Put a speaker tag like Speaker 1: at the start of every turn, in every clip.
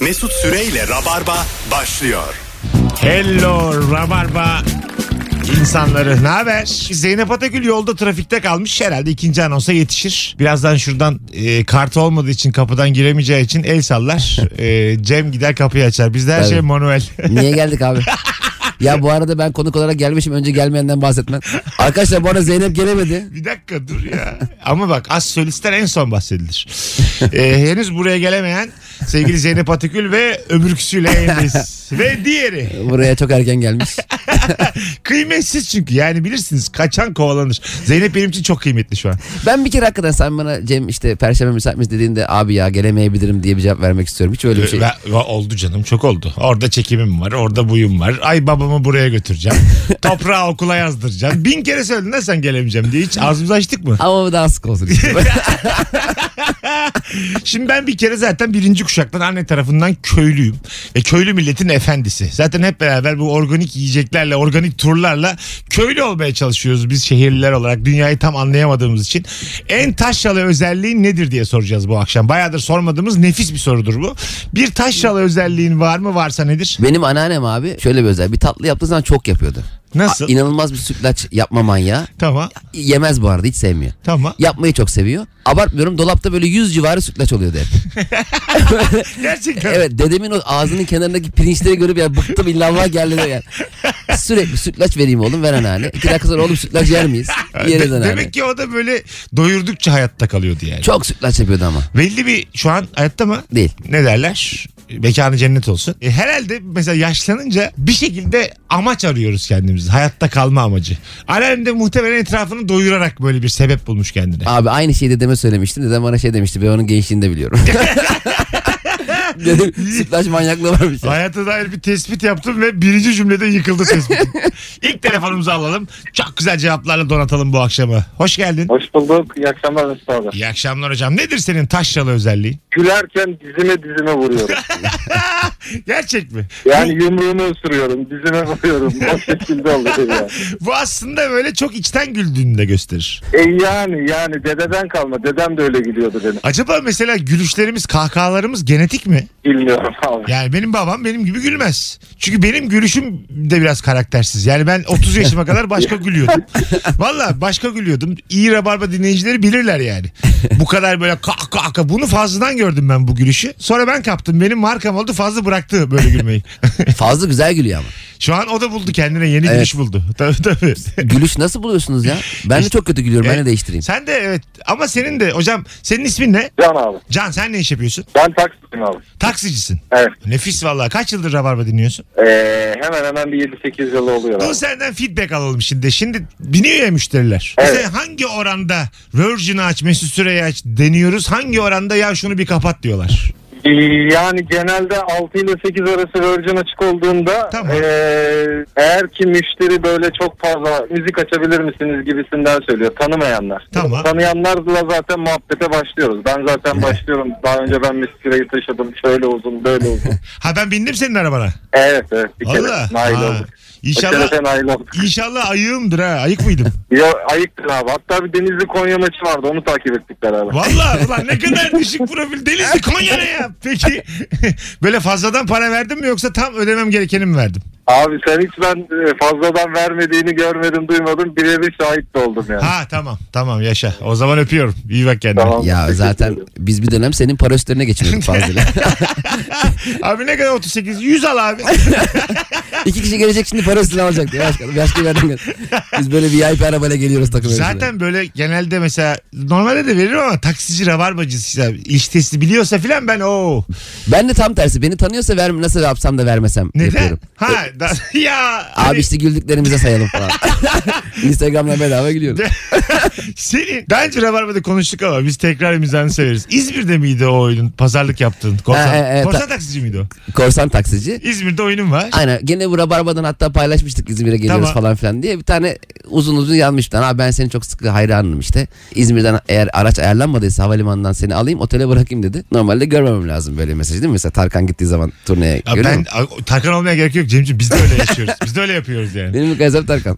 Speaker 1: Mesut Süreyle Rabarba başlıyor.
Speaker 2: Hello Rabarba insanları. Ne haber? Zeynep Atagül yolda trafikte kalmış. Herhalde ikinci anonsa yetişir. Birazdan şuradan e, kartı olmadığı için kapıdan giremeyeceği için el sallar. E, Cem gider kapıyı açar. Bizde her
Speaker 3: Tabii.
Speaker 2: şey manuel.
Speaker 3: Niye geldik abi? Ya bu arada ben konuk olarak gelmişim önce gelmeyenden bahsetmem. Arkadaşlar bu arada Zeynep gelemedi.
Speaker 2: Bir dakika dur ya. Ama bak az solistler en son bahsedilir. E, henüz buraya gelemeyen sevgili Zeynep Atakül ve öbürküsüyle yayındayız. ve diğeri.
Speaker 3: Buraya çok erken gelmiş.
Speaker 2: Kıymetsiz çünkü yani bilirsiniz kaçan kovalanır. Zeynep benim için çok kıymetli şu an.
Speaker 3: Ben bir kere hakikaten sen bana Cem işte perşembe müsait miyiz dediğinde abi ya gelemeyebilirim diye bir cevap vermek istiyorum. Hiç öyle bir şey.
Speaker 2: Ve- ve Ee, oldu canım çok oldu. Orada çekimim var, orada buyum var. Ay babamı buraya götüreceğim. Toprağı okula yazdıracağım. Bin kere söyledin de sen gelemeyeceğim diye hiç ağzımızı açtık mı?
Speaker 3: Ama bu daha sık olsun. işte.
Speaker 2: Şimdi ben bir kere zaten birinci kuşaktan anne tarafından köylüyüm. Ve köylü milletin efendisi. Zaten hep beraber bu organik yiyeceklerle, organik turlarla köylü olmaya çalışıyoruz biz şehirliler olarak. Dünyayı tam anlayamadığımız için. En taşralı özelliğin nedir diye soracağız bu akşam. Bayağıdır sormadığımız nefis bir sorudur bu. Bir taşralı özelliğin var mı? Varsa nedir?
Speaker 3: Benim anneannem abi şöyle bir özel. Bir tatlı yaptığı zaman çok yapıyordu.
Speaker 2: Nasıl?
Speaker 3: A- İnanılmaz bir sütlaç yapma manyağı.
Speaker 2: Tamam.
Speaker 3: Yemez bu arada hiç sevmiyor.
Speaker 2: Tamam.
Speaker 3: Yapmayı çok seviyor. Abartmıyorum dolapta böyle 100 civarı sütlaç oluyordu hep.
Speaker 2: Gerçekten.
Speaker 3: Evet dedemin o ağzının kenarındaki pirinçleri görüp ya bıktım illallah geldi de yani. Sürekli sütlaç vereyim oğlum ver anneanne. İki dakika sonra oğlum sütlaç yer miyiz?
Speaker 2: De-
Speaker 3: Yeriz anneanne.
Speaker 2: demek ki o da böyle doyurdukça hayatta kalıyordu yani.
Speaker 3: Çok sütlaç yapıyordu ama.
Speaker 2: Belli bir şu an hayatta mı?
Speaker 3: Değil.
Speaker 2: Ne derler? Mekanı cennet olsun. E, herhalde mesela yaşlanınca bir şekilde amaç arıyoruz kendimizi. Hayatta kalma amacı. Anneannem de muhtemelen etrafını doyurarak böyle bir sebep bulmuş kendine.
Speaker 3: Abi aynı şeyi dedeme söylemiştim. Dedem bana şey demişti. Ben onun gençliğinde biliyorum. Dedim sütlaç manyaklığı varmış. ya.
Speaker 2: Hayata dair bir tespit yaptım ve birinci cümlede yıkıldı tespitim. İlk telefonumuzu alalım. Çok güzel cevaplarla donatalım bu akşamı. Hoş geldin.
Speaker 4: Hoş bulduk. İyi akşamlar Mesut abi.
Speaker 2: İyi akşamlar hocam. Nedir senin taşralı özelliği?
Speaker 4: Gülerken dizime dizime vuruyorum.
Speaker 2: Gerçek mi?
Speaker 4: Yani yumruğumu ısırıyorum. Dizime vuruyorum. O şekilde oluyor yani.
Speaker 2: Bu aslında böyle çok içten güldüğünü de gösterir.
Speaker 4: E yani yani dededen kalma. Dedem de öyle gülüyordu benim.
Speaker 2: Acaba mesela gülüşlerimiz, kahkahalarımız genetik mi?
Speaker 4: Bilmiyorum abi.
Speaker 2: Yani benim babam benim gibi gülmez. Çünkü benim gülüşüm de biraz karaktersiz. Yani ben 30 yaşıma kadar başka gülüyordum. Valla başka gülüyordum. İyi Rabarba dinleyicileri bilirler yani. Bu kadar böyle kah kah kah. Bunu fazladan gördüm ben bu gülüşü. Sonra ben kaptım. Benim markam oldu. Fazla bıraktı böyle gülmeyi.
Speaker 3: Fazla güzel gülüyor ama.
Speaker 2: Şu an o da buldu kendine yeni
Speaker 3: Evet.
Speaker 2: gülüş buldu. Tabii tabii.
Speaker 3: Gülüş nasıl buluyorsunuz ya? Ben de çok kötü gülüyorum. Ben
Speaker 2: Evet.
Speaker 3: de değiştireyim.
Speaker 2: Sen de evet ama senin de hocam senin ismin ne?
Speaker 4: Can abi.
Speaker 2: Can sen ne iş yapıyorsun?
Speaker 4: Ben taksiyim abi.
Speaker 2: Taksicisin.
Speaker 4: Evet.
Speaker 2: Nefis vallahi. Kaç yıldır Rabarba dinliyorsun?
Speaker 4: Ee, hemen hemen bir 7-8 yıl oluyor
Speaker 2: Dur
Speaker 4: abi.
Speaker 2: senden feedback alalım şimdi. Şimdi biniyor ya müşteriler.
Speaker 4: Evet.
Speaker 2: Bize hangi oranda Virgin'i aç, Mesut Süre'yi aç deniyoruz. Hangi oranda ya şunu bir kapat diyorlar.
Speaker 4: Ee, Yani genelde 6 ile 8 arası Virgin açık olduğunda
Speaker 2: Tamam.
Speaker 4: ee, eğer ki müşteri böyle çok fazla müzik açabilir misiniz gibisinden söylüyor tanımayanlar.
Speaker 2: Tamam.
Speaker 4: Tanıyanlarla zaten muhabbete başlıyoruz. Ben zaten başlıyorum. Daha önce ben Meskira'yı taşıdım. Şöyle uzun böyle uzun.
Speaker 2: Ha ben bindim senin arabana.
Speaker 4: evet evet bir kere
Speaker 2: Valla.
Speaker 4: nail
Speaker 2: Ha.
Speaker 4: olduk.
Speaker 2: İnşallah,
Speaker 4: Bir kere de nail olduk.
Speaker 2: inşallah ayığımdır ha. Ayık mıydım?
Speaker 4: Ya, ayıktır abi. Hatta bir Denizli Konya maçı vardı. Onu takip ettik beraber.
Speaker 2: Valla ulan ne kadar düşük profil. Delisi Konya ne ya? Peki böyle fazladan para verdim mi yoksa tam ödemem gerekeni mi verdim?
Speaker 4: Abi sen hiç ben e, fazladan vermediğini görmedim duymadım. Birebir şahit de oldum yani.
Speaker 2: Ha tamam tamam yaşa. O zaman öpüyorum. İyi bak kendine.
Speaker 4: Tamam.
Speaker 3: Ya zaten biz bir dönem senin para üstlerine geçiriyorduk fazla.
Speaker 2: Abi ne kadar 38? 100 al abi.
Speaker 3: İki kişi gelecek şimdi parasını alacak diye. Başka, başka bir yerden gel. Biz böyle VIP arabayla geliyoruz takım elbiseyle.
Speaker 2: Zaten böyle genelde mesela normalde de veririm ama taksici rabarbacısı ya, iliştesi biliyorsa filan ben o
Speaker 3: Ben de tam tersi. Beni tanıyorsa ver, nasıl yapsam da vermesem
Speaker 2: neden?
Speaker 3: yapıyorum.
Speaker 2: Ha da, ya
Speaker 3: E-
Speaker 2: hani
Speaker 3: Abi işte güldüklerimize sayalım falan. Instagram'dan bedava gülüyorum.
Speaker 2: senin daha önce rabarbada konuştuk ama biz tekrar mizahını severiz. İzmir'de miydi o oyunun pazarlık yaptığın? Korsan,
Speaker 3: Ha, e, e,
Speaker 2: korsan
Speaker 3: ta-
Speaker 2: taksici miydi o?
Speaker 3: Korsan taksici.
Speaker 2: İzmir'de oyunum var.
Speaker 3: Aynen. Gene sene bu Rabarba'dan hatta paylaşmıştık İzmir'e geliyoruz
Speaker 2: Tamam.
Speaker 3: falan filan diye. Bir tane uzun uzun yazmış. Lan abi ben seni çok sıkı hayranım işte. İzmir'den eğer araç ayarlanmadıysa havalimanından seni alayım otele bırakayım dedi. Normalde görmemem lazım böyle mesajı değil mi? Mesela Tarkan gittiği zaman turneye
Speaker 2: Ya
Speaker 3: görüyor
Speaker 2: ben
Speaker 3: musun?
Speaker 2: a- Tarkan olmaya gerek yok Cemciğim. Biz de öyle yaşıyoruz. Biz de öyle yapıyoruz yani.
Speaker 3: Benim gazem Tarkan.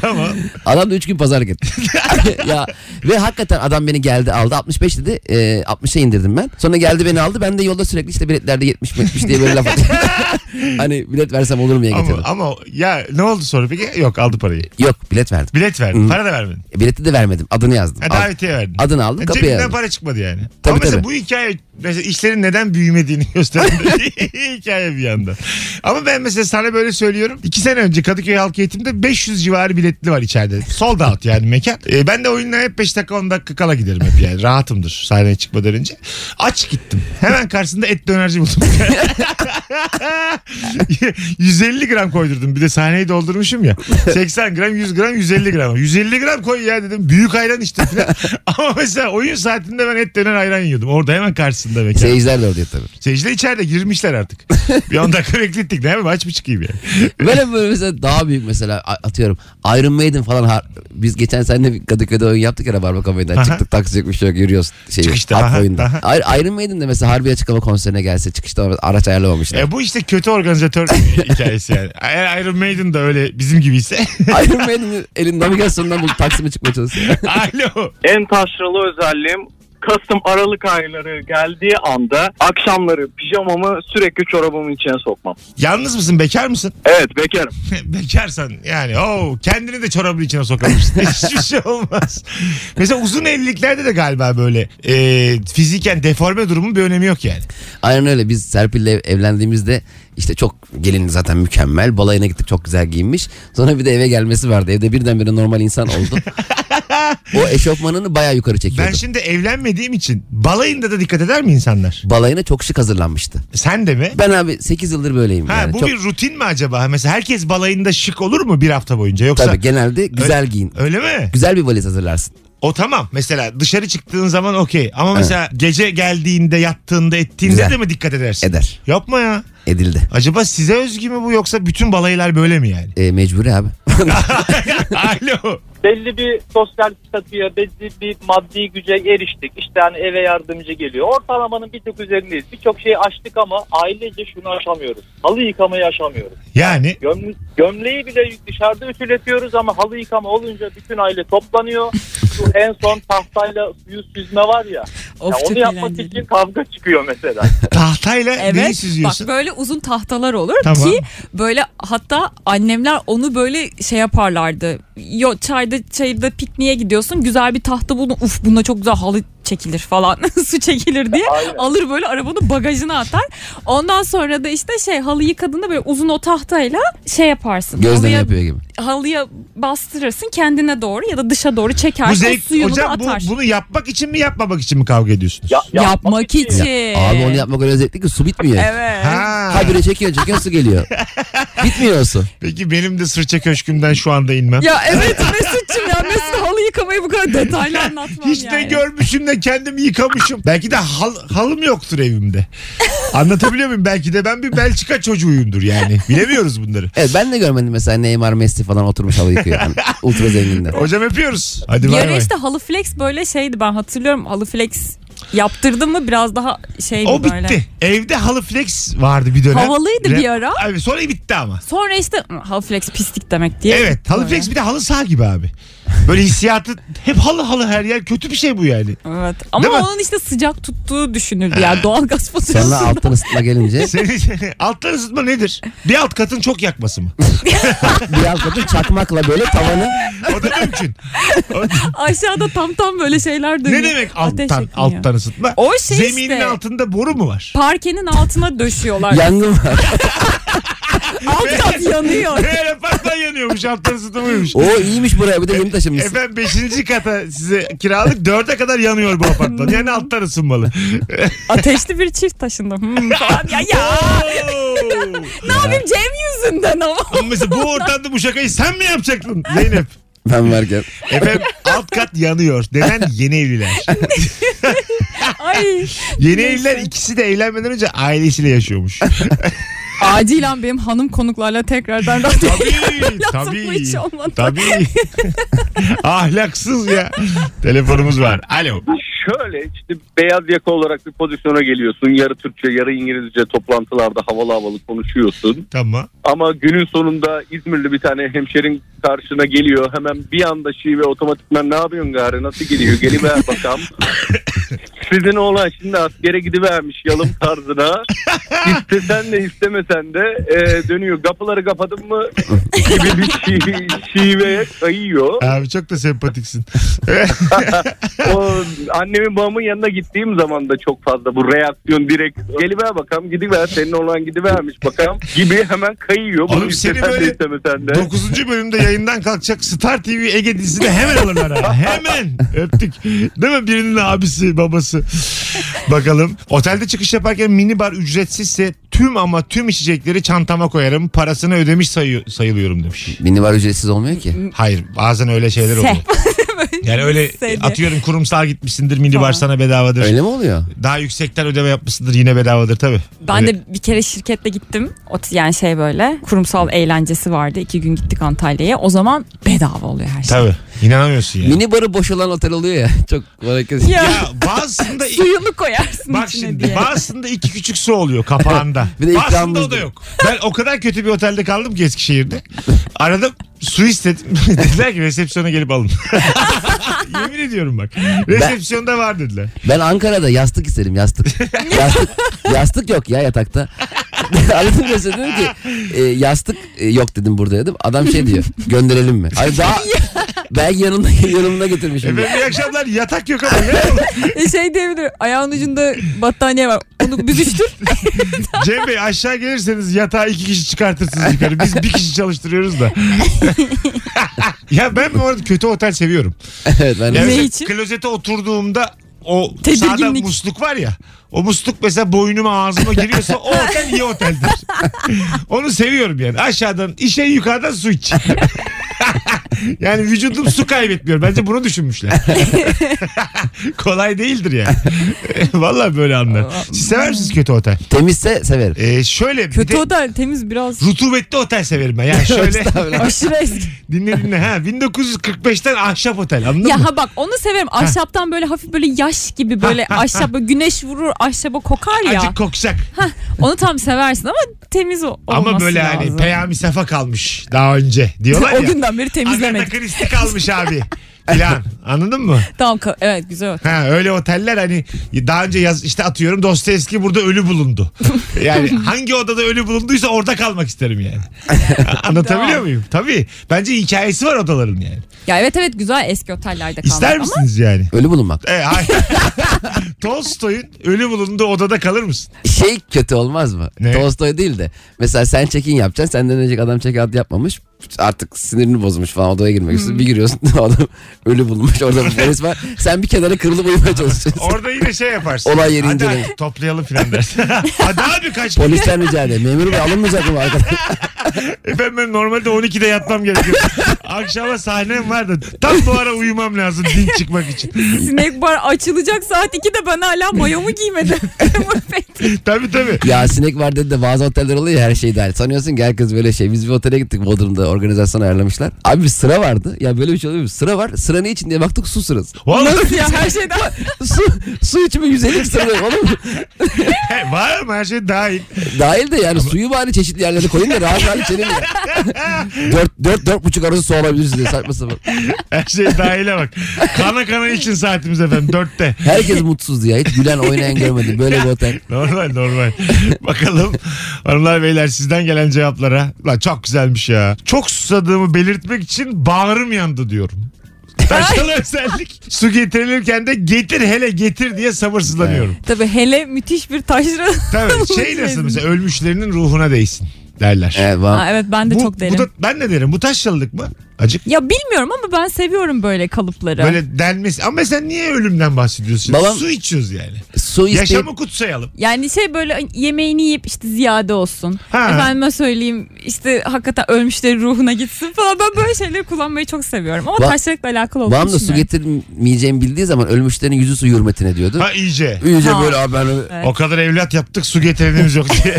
Speaker 2: tamam.
Speaker 3: Adam da 3 gün pazarlık etti. ya ve hakikaten adam beni geldi aldı 65 dedi. E, 60'a indirdim ben. Sonra geldi beni aldı. Ben de yolda sürekli işte biletlerde 70 70 diye böyle laf attım. hani bilet versem olur mu diye
Speaker 2: Ama,
Speaker 3: getirdim.
Speaker 2: ama ya ne oldu sonra peki? Yok aldı parayı.
Speaker 3: Yok bilet verdim.
Speaker 2: Bilet verdin.
Speaker 3: Hı.
Speaker 2: Para da vermedin.
Speaker 3: E, Bileti de vermedim. Adını yazdım.
Speaker 2: Ha,
Speaker 3: Al-
Speaker 2: davetiye verdin.
Speaker 3: Adını aldım
Speaker 2: Ha,
Speaker 3: kapıya
Speaker 2: Cebinden
Speaker 3: yazdım.
Speaker 2: para çıkmadı yani.
Speaker 3: Tabii,
Speaker 2: Ama mesela
Speaker 3: tabii.
Speaker 2: bu hikaye mesela işlerin neden büyümediğini gösteren bir hikaye bir yandan. Ama ben mesela sana böyle söylüyorum. İki sene önce Kadıköy Halk Eğitim'de 500 civarı biletli var içeride. Sold out yani mekan. Ee, ben de oyunla hep 5 dakika 10 dakika kala giderim hep yani. Rahatımdır sahneye çıkmadan önce. Aç gittim. Hemen karşısında et dönerci buldum. 150 gram koydurdum. Bir de sahneyi doldurmuşum ya. 80 gram, 100 gram, 150 gram. 150 gram koy ya dedim. Büyük ayran işte filan. Ama mesela oyun saatinde ben et döner ayran yiyordum. Orada hemen karşısında mekan.
Speaker 3: Seyirciler de orada tabii.
Speaker 2: Seyirciler içeride girmişler artık. Bir 10 dakika beklettik. Ne yapayım aç mı çıkayım yani.
Speaker 3: Böyle böyle mesela daha büyük mesela a- atıyorum Iron Maiden falan har- biz geçen sene bir Kadıköy'de oyun yaptık ya Rabarba Kafe'den çıktık taksi yok bir şey yok yürüyoruz şey yok,
Speaker 2: Çıkışta,
Speaker 3: at
Speaker 2: aha,
Speaker 3: oyunda.
Speaker 2: aha.
Speaker 3: Ay- Iron Maiden de mesela Harbi Açık Hava konserine gelse çıkışta araç ayarlamamışlar.
Speaker 2: E bu işte kötü organizatör hikayesi yani. Eğer Iron Maiden de öyle bizim gibiyse.
Speaker 3: Iron Maiden'in elin navigasyonundan bulup Taksim'e çıkmaya çalışıyor.
Speaker 2: Alo.
Speaker 5: En taşralı özelliğim Kasım Aralık ayları geldiği anda akşamları pijamamı sürekli çorabımın içine sokmam.
Speaker 2: Yalnız mısın? Bekar mısın?
Speaker 5: Evet bekarım.
Speaker 2: Bekarsan yani o kendini de çorabın içine sokamışsın. Hiçbir şey olmaz. Mesela uzun evliliklerde de galiba böyle e, fiziken deforme durumun bir önemi yok yani.
Speaker 3: Aynen öyle biz Serpil'le ev- evlendiğimizde işte çok gelin zaten mükemmel. Balayına gittik çok güzel giyinmiş. Sonra bir de eve gelmesi vardı. Evde birdenbire normal insan oldu. o eşofmanını bayağı yukarı çekiyordu.
Speaker 2: Ben şimdi evlenmediğim için balayında da dikkat eder mi insanlar?
Speaker 3: Balayına çok şık hazırlanmıştı.
Speaker 2: Sen de mi?
Speaker 3: Ben abi 8 yıldır böyleyim.
Speaker 2: Ha
Speaker 3: yani.
Speaker 2: bu
Speaker 3: çok,
Speaker 2: bir rutin mi acaba? Mesela herkes balayında şık olur mu bir hafta boyunca? Yoksa
Speaker 3: Tabii genelde güzel
Speaker 2: Öyle-
Speaker 3: giyin.
Speaker 2: Öyle mi?
Speaker 3: Güzel bir valiz hazırlarsın.
Speaker 2: O tamam. Mesela dışarı çıktığın zaman okey. Ama mesela gece geldiğinde, yattığında, ettiğinde
Speaker 3: Güzel.
Speaker 2: de mi dikkat edersin?
Speaker 3: Eder.
Speaker 2: Yapma ya.
Speaker 3: Edildi.
Speaker 2: Acaba size özgü mü bu yoksa bütün balaylar böyle mi yani?
Speaker 3: E, mecburi abi.
Speaker 2: Alo.
Speaker 6: belli bir sosyal statüye, belli bir maddi güce eriştik. İşte hani eve yardımcı geliyor. Ortalamanın bir tık üzerindeyiz. Birçok şeyi açtık ama ailece şunu aşamıyoruz. Halı yıkamayı aşamıyoruz.
Speaker 2: Yani
Speaker 6: Göm- gömleği bile dışarıda ütületiyoruz ama halı yıkama olunca bütün aile toplanıyor. Şu en son tahtayla suyu süzme var ya.
Speaker 7: Of
Speaker 6: ya
Speaker 7: çok
Speaker 6: onu yapmak
Speaker 7: eğlenceli.
Speaker 6: için kavga çıkıyor mesela.
Speaker 2: tahtayla neyi
Speaker 7: Evet
Speaker 2: süzüyorsun?
Speaker 7: bak böyle uzun tahtalar olur
Speaker 2: Tamam.
Speaker 7: ki böyle hatta annemler onu böyle şey yaparlardı. Yo, çayda çayda pikniğe gidiyorsun güzel bir tahta buldun uf bunda çok güzel halı çekilir falan su çekilir diye
Speaker 6: Aynen.
Speaker 7: alır böyle arabanın bagajına atar. Ondan sonra da işte şey halı yıkadığında böyle uzun o tahtayla şey yaparsın.
Speaker 3: Gözleme
Speaker 7: halıya,
Speaker 3: yapıyor gibi.
Speaker 7: halıya bastırırsın kendine doğru ya da dışa doğru çekersin.
Speaker 2: Bu
Speaker 7: o
Speaker 2: zevk
Speaker 7: suyunu da
Speaker 2: hocam bu,
Speaker 7: atar.
Speaker 2: bunu yapmak için mi yapmamak için mi kavga ediyorsunuz?
Speaker 6: Ya-
Speaker 7: yapmak, için.
Speaker 3: Abi onu yapmak öyle zevkli ki su bitmiyor.
Speaker 7: Evet.
Speaker 2: Ha.
Speaker 3: Habire çekiyor çekiyor su geliyor. Bitmiyor o su.
Speaker 2: Peki benim de sırça köşkümden şu anda inmem.
Speaker 7: Ya evet Mesut'cum ya Mesut halı yıkamayı bu kadar detaylı anlatmam
Speaker 2: Hiç de
Speaker 7: yani.
Speaker 2: görmüşüm de kendimi yıkamışım. Belki de hal- halım yoktur evimde. Anlatabiliyor muyum? Belki de ben bir Belçika çocuğuyumdur yani. Bilemiyoruz bunları.
Speaker 3: Evet ben de görmedim mesela Neymar Messi falan oturmuş halı yıkıyor. Yani ultra zenginler.
Speaker 2: Hocam öpüyoruz. Hadi
Speaker 7: Bir
Speaker 2: bay
Speaker 7: ara
Speaker 2: bay.
Speaker 7: işte halı flex böyle şeydi ben hatırlıyorum halı flex yaptırdım mı biraz daha şeydi
Speaker 2: O bitti.
Speaker 7: böyle.
Speaker 2: Evde halı flex vardı bir dönem.
Speaker 7: Havalıydı
Speaker 2: Re-
Speaker 7: bir ara.
Speaker 2: Abi sonra bitti ama.
Speaker 7: Sonra işte "Hı, halı flex pislik demek diye.
Speaker 2: Evet halı
Speaker 7: Böyle.
Speaker 2: flex bir de halı saha gibi abi. Böyle hissiyatı hep halı halı her yer kötü bir şey bu yani.
Speaker 7: Evet. Ama
Speaker 2: Değil mi?
Speaker 7: onun işte sıcak tuttuğu düşünüldü ya doğalgaz faturası.
Speaker 3: Sonra alttan ısıtma gelince
Speaker 2: Senin alttan ısıtma nedir? Bir alt katın çok yakması mı?
Speaker 3: bir alt katı çakmakla böyle tavanı
Speaker 2: O da mümkün. O-
Speaker 7: Aşağıda tam tam böyle şeyler dönüyor.
Speaker 2: ne demek
Speaker 7: Ateş
Speaker 2: alttan
Speaker 7: yakıyor.
Speaker 2: alttan ısıtma?
Speaker 7: O şey
Speaker 2: Zeminin
Speaker 7: işte.
Speaker 2: altında boru mu var?
Speaker 7: Parkenin altına döşüyorlar.
Speaker 3: yangın var.
Speaker 7: Alt kat yanıyor.
Speaker 2: Meğer apartman yanıyormuş alttan ısıtmıyormuş.
Speaker 3: O iyiymiş buraya bir de yeni taşınmışsın.
Speaker 2: Efendim 5. kata size kiralık 4'e kadar yanıyor bu apartman. Yani alttan ısınmalı.
Speaker 7: Ateşli bir çift taşındım. Hmm, falan. Ya, ya.
Speaker 2: Oo.
Speaker 7: Ne yapayım Cem yüzünden ama.
Speaker 2: Ama mesela bu ortamda bu şakayı sen mi yapacaktın Zeynep?
Speaker 3: Ben varken.
Speaker 2: Efendim alt kat yanıyor denen yeni evliler.
Speaker 7: Ay.
Speaker 2: Yeni evliler ikisi de evlenmeden önce ailesiyle yaşıyormuş.
Speaker 7: Acilen benim hanım konuklarla tekrardan radyo
Speaker 2: Tabii
Speaker 7: lazım bu hiç olmadı.
Speaker 2: Tabii. Ahlaksız ya. Telefonumuz var. Alo.
Speaker 5: Şöyle işte beyaz yaka olarak bir pozisyona geliyorsun. Yarı Türkçe yarı İngilizce toplantılarda havalı havalı konuşuyorsun.
Speaker 2: Tamam.
Speaker 5: Ama günün sonunda İzmirli bir tane hemşerin karşına geliyor. Hemen bir anda şive otomatikman ne yapıyorsun gari nasıl gidiyor geliver bakalım. Sizin oğlan şimdi askere gidivermiş yalım tarzına. İstesen de istemesen de e, dönüyor. Kapıları kapadın mı gibi bir şi- şiveye kayıyor.
Speaker 2: Abi çok da sempatiksin.
Speaker 5: o annemin babamın yanına gittiğim zaman da çok fazla bu reaksiyon direkt geliver bakalım gidiver senin olan gidivermiş bakalım gibi hemen kayıyor. Bunu
Speaker 2: Oğlum seni
Speaker 5: istesen
Speaker 2: böyle
Speaker 5: de istemesen de.
Speaker 2: 9. bölümde yayından kalkacak Star TV Ege dizisini hemen alırlar ha. Hemen. Öptük. Değil mi? Birinin abisi, babası. Bakalım. Otelde çıkış yaparken minibar ücretsizse tüm ama tüm içecekleri çantama koyarım. Parasını ödemiş sayı- sayılıyorum demiş.
Speaker 3: Minibar ücretsiz olmuyor ki.
Speaker 2: Hayır bazen öyle şeyler oluyor. Yani öyle
Speaker 7: Seni.
Speaker 2: atıyorum kurumsal gitmişsindir minibar
Speaker 7: Tamam.
Speaker 2: sana bedavadır.
Speaker 3: Öyle mi oluyor?
Speaker 2: Daha yüksekten ödeme yapmışsındır yine bedavadır tabii.
Speaker 7: Ben
Speaker 2: Öyle-
Speaker 7: de bir kere şirkette gittim. Ot- Yani şey böyle kurumsal eğlencesi vardı. İki gün gittik Antalya'ya. O zaman bedava oluyor her şey.
Speaker 2: Tabii. İnanamıyorsun yani.
Speaker 3: Minibarı boş olan otel oluyor ya. Çok herkes.
Speaker 7: Ya,
Speaker 2: Ya bazısında
Speaker 7: suyunu koyarsın
Speaker 2: Bak
Speaker 7: içine
Speaker 2: şimdi
Speaker 7: diye.
Speaker 2: bazısında iki küçük su oluyor kapağında.
Speaker 3: Bir de
Speaker 2: bazısında o
Speaker 3: ikramımız
Speaker 2: da
Speaker 3: da.
Speaker 2: yok. Ben o kadar kötü bir otelde kaldım ki Eskişehir'de. Aradım su istedim. dediler ki resepsiyona gelip alın. Yemin ediyorum bak. Resepsiyonda var dediler.
Speaker 3: Ben Ankara'da yastık isterim yastık. yastık, yastık yok ya yatakta. Aradım da dedim ki e, yastık e, yok dedim burada dedim. Adam şey diyor gönderelim mi? Ay daha ben yanımda yanımda getirmişim.
Speaker 2: Efendim iyi E akşamlar yatak yok ama ne olur.
Speaker 7: E şey diyebilir. Ayağın ucunda battaniye var. Onu büzüştür.
Speaker 2: Cem Bey aşağı gelirseniz yatağı iki kişi çıkartırsınız yukarı. Biz bir kişi çalıştırıyoruz da. ya ben bu arada kötü otel seviyorum.
Speaker 3: evet ben
Speaker 2: Ya
Speaker 7: Ne
Speaker 2: mesela
Speaker 7: için?
Speaker 2: Klozete oturduğumda o
Speaker 7: Tedirginlik.
Speaker 2: sağda musluk var ya. O musluk mesela boynuma ağzıma giriyorsa o otel iyi oteldir. Onu seviyorum yani. Aşağıdan işe yukarıdan su iç. yani vücudum su kaybetmiyor. Bence bunu düşünmüşler. Kolay değildir yani. Vallahi böyle anlar. Siz sever misiniz kötü otel?
Speaker 3: temizse severim.
Speaker 2: Ee, şöyle bir
Speaker 7: Kötü
Speaker 2: de
Speaker 7: otel temiz biraz.
Speaker 2: rutubetli otel severim ben. Yani şöyle
Speaker 7: Aşırı eski.
Speaker 2: dinle dinle. Ha, 1945'ten ahşap otel anladın
Speaker 7: Ya
Speaker 2: mı?
Speaker 7: ha bak onu severim. Ahşaptan böyle hafif böyle yaş gibi böyle ahşap böyle güneş vurur ahşaba kokar ya.
Speaker 2: Acık koksak.
Speaker 7: Onu tam seversin ama temiz o- olması
Speaker 2: Ama böyle
Speaker 7: lazım.
Speaker 2: hani Peyami Safa kalmış daha önce diyorlar ya.
Speaker 7: o günden beri temizlemedik.
Speaker 2: Agatha Christie kalmış abi. Plan. Anladın mı?
Speaker 7: Tamam ka- evet güzel.
Speaker 2: Ha öyle oteller hani daha önce yaz işte atıyorum Dostoyevski burada ölü bulundu. Yani hangi odada ölü bulunduysa orada kalmak isterim yani. Anlatabiliyor
Speaker 7: Tamam.
Speaker 2: muyum? Tabii. Bence hikayesi var odaların yani.
Speaker 7: Ya evet evet güzel eski otellerde kalmak
Speaker 2: İster
Speaker 7: ama
Speaker 2: misiniz yani?
Speaker 3: Ölü bulunmak.
Speaker 2: E, hayır. Tolstoy'un ölü bulunduğu odada kalır mısın?
Speaker 3: Şey kötü olmaz mı?
Speaker 2: Ne?
Speaker 3: Tolstoy değil de. Mesela sen check-in yapacaksın. Senden önceki adam check-out yapmamış. Artık sinirini bozmuş falan odaya girmek
Speaker 2: Hmm.
Speaker 3: istiyor. Bir giriyorsun adam ölü bulmuş. Orada bir polis var. Sen bir kenara kırılıp uyumaya çalışıyorsun.
Speaker 2: Orada yine şey yaparsın.
Speaker 3: Olay yeri
Speaker 2: Hadi
Speaker 3: incelemek.
Speaker 2: abi, toplayalım filan dersin. Hadi abi kaç
Speaker 3: Polisten rica ederim. Memur bey alınmayacak mı arkadaş?
Speaker 2: Efendim ben normalde 12'de yatmam gerekiyor. Akşama sahnem vardı. Tam bu ara uyumam lazım din çıkmak için.
Speaker 7: sinek bar açılacak saat 2'de ben hala mayomu giymedim. Muhabbet.
Speaker 2: Tabii tabii.
Speaker 3: ya sinek var dedi de bazı oteller oluyor ya her şey dahil. Sanıyorsun ki herkes böyle şey. Biz bir otele gittik Bodrum'da organizasyon ayarlamışlar. Abi bir sıra vardı. Ya böyle bir şey oluyor mu? Sıra var. Sıra ne için diye baktık su sırası.
Speaker 2: Vallahi
Speaker 7: ya her şeyden
Speaker 3: su, su içimi 150 sıra var oğlum.
Speaker 2: he, var ama her şey dahil.
Speaker 3: Dahil de yani suyu bari çeşitli yerlere koyun da rahat rahat içelim ya. dört, dört, dört buçuk arası su alabilirsiniz diye saçma sapan.
Speaker 2: Her şey dahile bak. Kana kana için saatimiz efendim dörtte.
Speaker 3: Herkes mutsuzdu ya. Hiç gülen oynayan görmedim. Böyle bir otel.
Speaker 2: Normal normal. Bakalım hanımlar beyler sizden gelen cevaplara. Lan çok güzelmiş ya. Çok susadığımı belirtmek için bağrım yandı diyorum. Taşkalı özellik. Su getirilirken de getir hele getir diye sabırsızlanıyorum.
Speaker 7: Tabii hele müthiş bir taşra.
Speaker 2: Tabii şey nasıl mesela ölmüşlerinin ruhuna değsin derler.
Speaker 3: Evet,
Speaker 7: Ha, evet ben de
Speaker 2: bu,
Speaker 7: çok derim.
Speaker 2: bu da- ben ne derim? Bu taşralılık mı? Acık.
Speaker 7: Ya bilmiyorum ama ben seviyorum böyle kalıpları.
Speaker 2: Böyle denmesi. Ama sen niye ölümden bahsediyorsun?
Speaker 3: Babam-
Speaker 2: Su içiyoruz yani.
Speaker 3: Su isteyip
Speaker 2: Yaşamı kutsayalım.
Speaker 7: Yani şey böyle yemeğini yiyip işte ziyade olsun.
Speaker 2: Ha.
Speaker 7: Efendime söyleyeyim işte hakikaten ölmüşlerin ruhuna gitsin falan. Ben böyle şeyleri kullanmayı çok seviyorum. Ama
Speaker 3: Va-
Speaker 7: taşrakla alakalı olduğunu
Speaker 3: babam da su
Speaker 7: düşünüyorum.
Speaker 3: getirmeyeceğimi bildiği zaman ölmüşlerin yüzü su hürmetine diyordu.
Speaker 2: Ha iyice.
Speaker 3: İyice
Speaker 7: Ha.
Speaker 3: böyle abi ben-
Speaker 7: Evet.
Speaker 2: O kadar evlat yaptık su getirenimiz yok diye.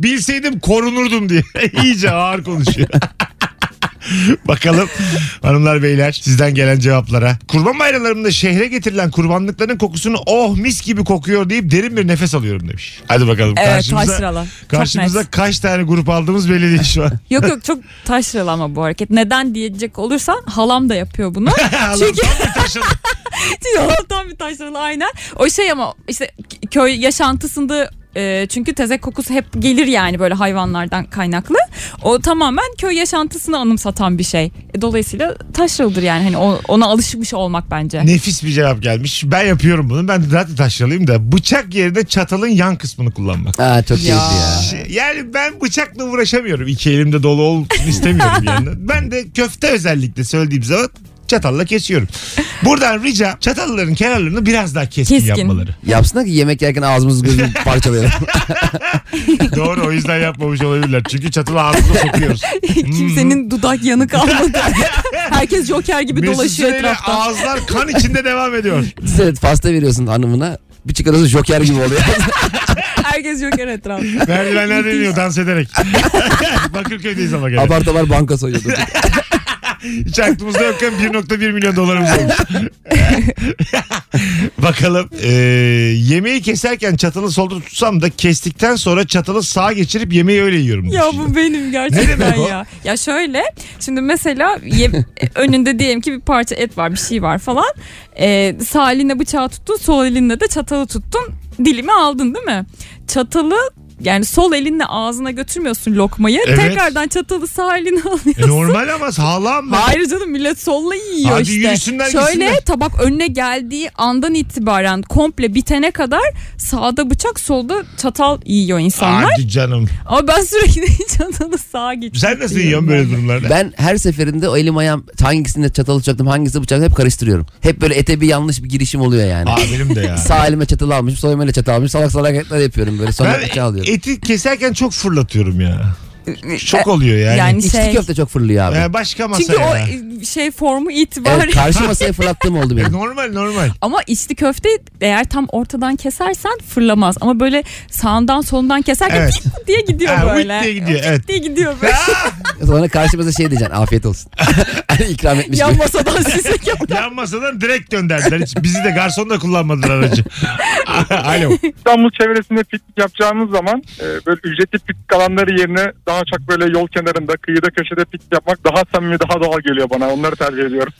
Speaker 2: Bilseydim korunurdum diye. İyice ağır konuşuyor. Bakalım hanımlar beyler sizden gelen cevaplara. Kurban bayramlarında şehre getirilen kurbanlıkların kokusunu oh mis gibi kokuyor deyip derin bir nefes alıyorum demiş. Hadi bakalım
Speaker 7: Evet
Speaker 2: karşımıza,
Speaker 7: taşralı. Çok
Speaker 2: karşımıza
Speaker 7: net.
Speaker 2: kaç tane grup aldığımız belli değil şu an.
Speaker 7: Yok yok çok taşralı ama bu hareket. Neden diyecek olursan halam da yapıyor bunu.
Speaker 2: Allah'ım
Speaker 7: Çünkü
Speaker 2: tam bir taşın-
Speaker 7: halam tam bir taşralı aynen. O şey ama işte köy yaşantısında e, çünkü tezek kokusu hep gelir yani böyle hayvanlardan kaynaklı. O tamamen köy yaşantısını anımsatan bir şey. E, Dolayısıyla taşralıdır yani hani o- ona alışmış olmak bence.
Speaker 2: Nefis bir cevap gelmiş. Ben yapıyorum bunu. Ben de zaten taşralıyım da bıçak yerine çatalın yan kısmını kullanmak.
Speaker 3: Aa, çok keyifli ya.
Speaker 2: Şey, Yani ben bıçakla uğraşamıyorum. İki elimde dolu ol istemiyorum yani. Ben de köfte özellikle söylediğim zaman çatalla kesiyorum. Buradan rica çatalların kenarlarını biraz daha keskin,
Speaker 7: Keskin.
Speaker 2: yapmaları.
Speaker 3: Yapsınlar ki yemek yerken ağzımızı gözümüzü parçalayalım.
Speaker 2: Doğru o yüzden yapmamış olabilirler. Çünkü çatalı ağzına sokuyoruz.
Speaker 7: Kimsenin dudak yanık almadı. Herkes joker gibi
Speaker 2: Mesut
Speaker 7: dolaşıyor
Speaker 2: Süreyle
Speaker 7: etrafta.
Speaker 2: ağızlar kan içinde devam ediyor.
Speaker 3: Sen pasta veriyorsun hanımına. Bir çıkarıyorsun joker gibi oluyor.
Speaker 7: Herkes joker etrafta.
Speaker 2: Merdivenler deniyor dans ederek. Bakırköy'deyiz ama gene.
Speaker 3: Apar topar banka soyuyordu.
Speaker 2: Hiç aklımızda yokken 1.1 milyon dolarımız olmuş. Bakalım e, yemeği keserken çatalı solda tutsam da kestikten sonra çatalı sağa geçirip yemeği öyle yiyorum. demiş.
Speaker 7: ya bu benim
Speaker 2: Ne
Speaker 7: gerçekten
Speaker 2: demek o?
Speaker 7: ya. Ya şöyle şimdi mesela ye- önünde diyelim ki bir parça et var bir şey var falan. Ee, sağ elinle bıçağı tuttun sol elinle de çatalı tuttun dilimi aldın değil mi? Çatalı yani sol elinle ağzına götürmüyorsun lokmayı.
Speaker 2: Evet.
Speaker 7: Tekrardan çatalı sağ eline alıyorsun.
Speaker 2: E, normal ama sağlam ben.
Speaker 7: Hayır canım millet solla yiyor
Speaker 2: Hadi
Speaker 7: işte.
Speaker 2: yürüsünler,
Speaker 7: Şöyle
Speaker 2: gitsinler.
Speaker 7: tabak önüne geldiği andan itibaren komple bitene kadar sağda bıçak solda çatal yiyor insanlar.
Speaker 2: Hadi canım.
Speaker 7: Ama ben sürekli çatalı sağa geçiyorum.
Speaker 2: Sen nasıl yiyorsun böyle durumlarda?
Speaker 3: Ben her seferinde o elim ayağım hangisinde çatal tutacaktım hangisi bıçak hep karıştırıyorum. Hep böyle ete bir yanlış bir girişim oluyor yani.
Speaker 2: Aa benim de ya.
Speaker 3: Sağ elime çatal almışım, sol elime çatal almışım. Salak salak hareketler yapıyorum böyle. Sonra
Speaker 2: Ben
Speaker 3: bıçağı alıyorum.
Speaker 2: eti keserken çok fırlatıyorum ya. Çok oluyor yani.
Speaker 7: Ee, e, Yani
Speaker 3: İçli
Speaker 7: şey.
Speaker 3: köfte çok fırlıyor abi.
Speaker 2: E, başka masa
Speaker 7: Çünkü o
Speaker 2: ya.
Speaker 7: e, şey formu itibariyle.
Speaker 3: Evet, karşı masaya fırlattığım oldu benim.
Speaker 2: Normal normal.
Speaker 7: Ama içli köfte eğer tam ortadan kesersen fırlamaz. Ama böyle sağından solundan keserken
Speaker 2: Evet.
Speaker 7: "Pip" diye gidiyor
Speaker 2: Ha,
Speaker 7: böyle.
Speaker 2: "Vıt" diye gidiyor, evet.
Speaker 7: diye gidiyor böyle.
Speaker 3: Sonra karşımıza şey diyeceksin afiyet olsun. hani ikram etmiş
Speaker 7: Yan
Speaker 3: gibi.
Speaker 7: masadan size gel-
Speaker 2: Yan masadan direkt gönderdiler. Hiç bizi de garson da kullanmadılar aracı. Alo.
Speaker 5: İstanbul çevresinde piknik yapacağımız zaman e, böyle ücretli piknik alanları yerine daha çok böyle yol kenarında kıyıda köşede piknik yapmak daha samimi daha doğal geliyor bana. Onları tercih ediyorum.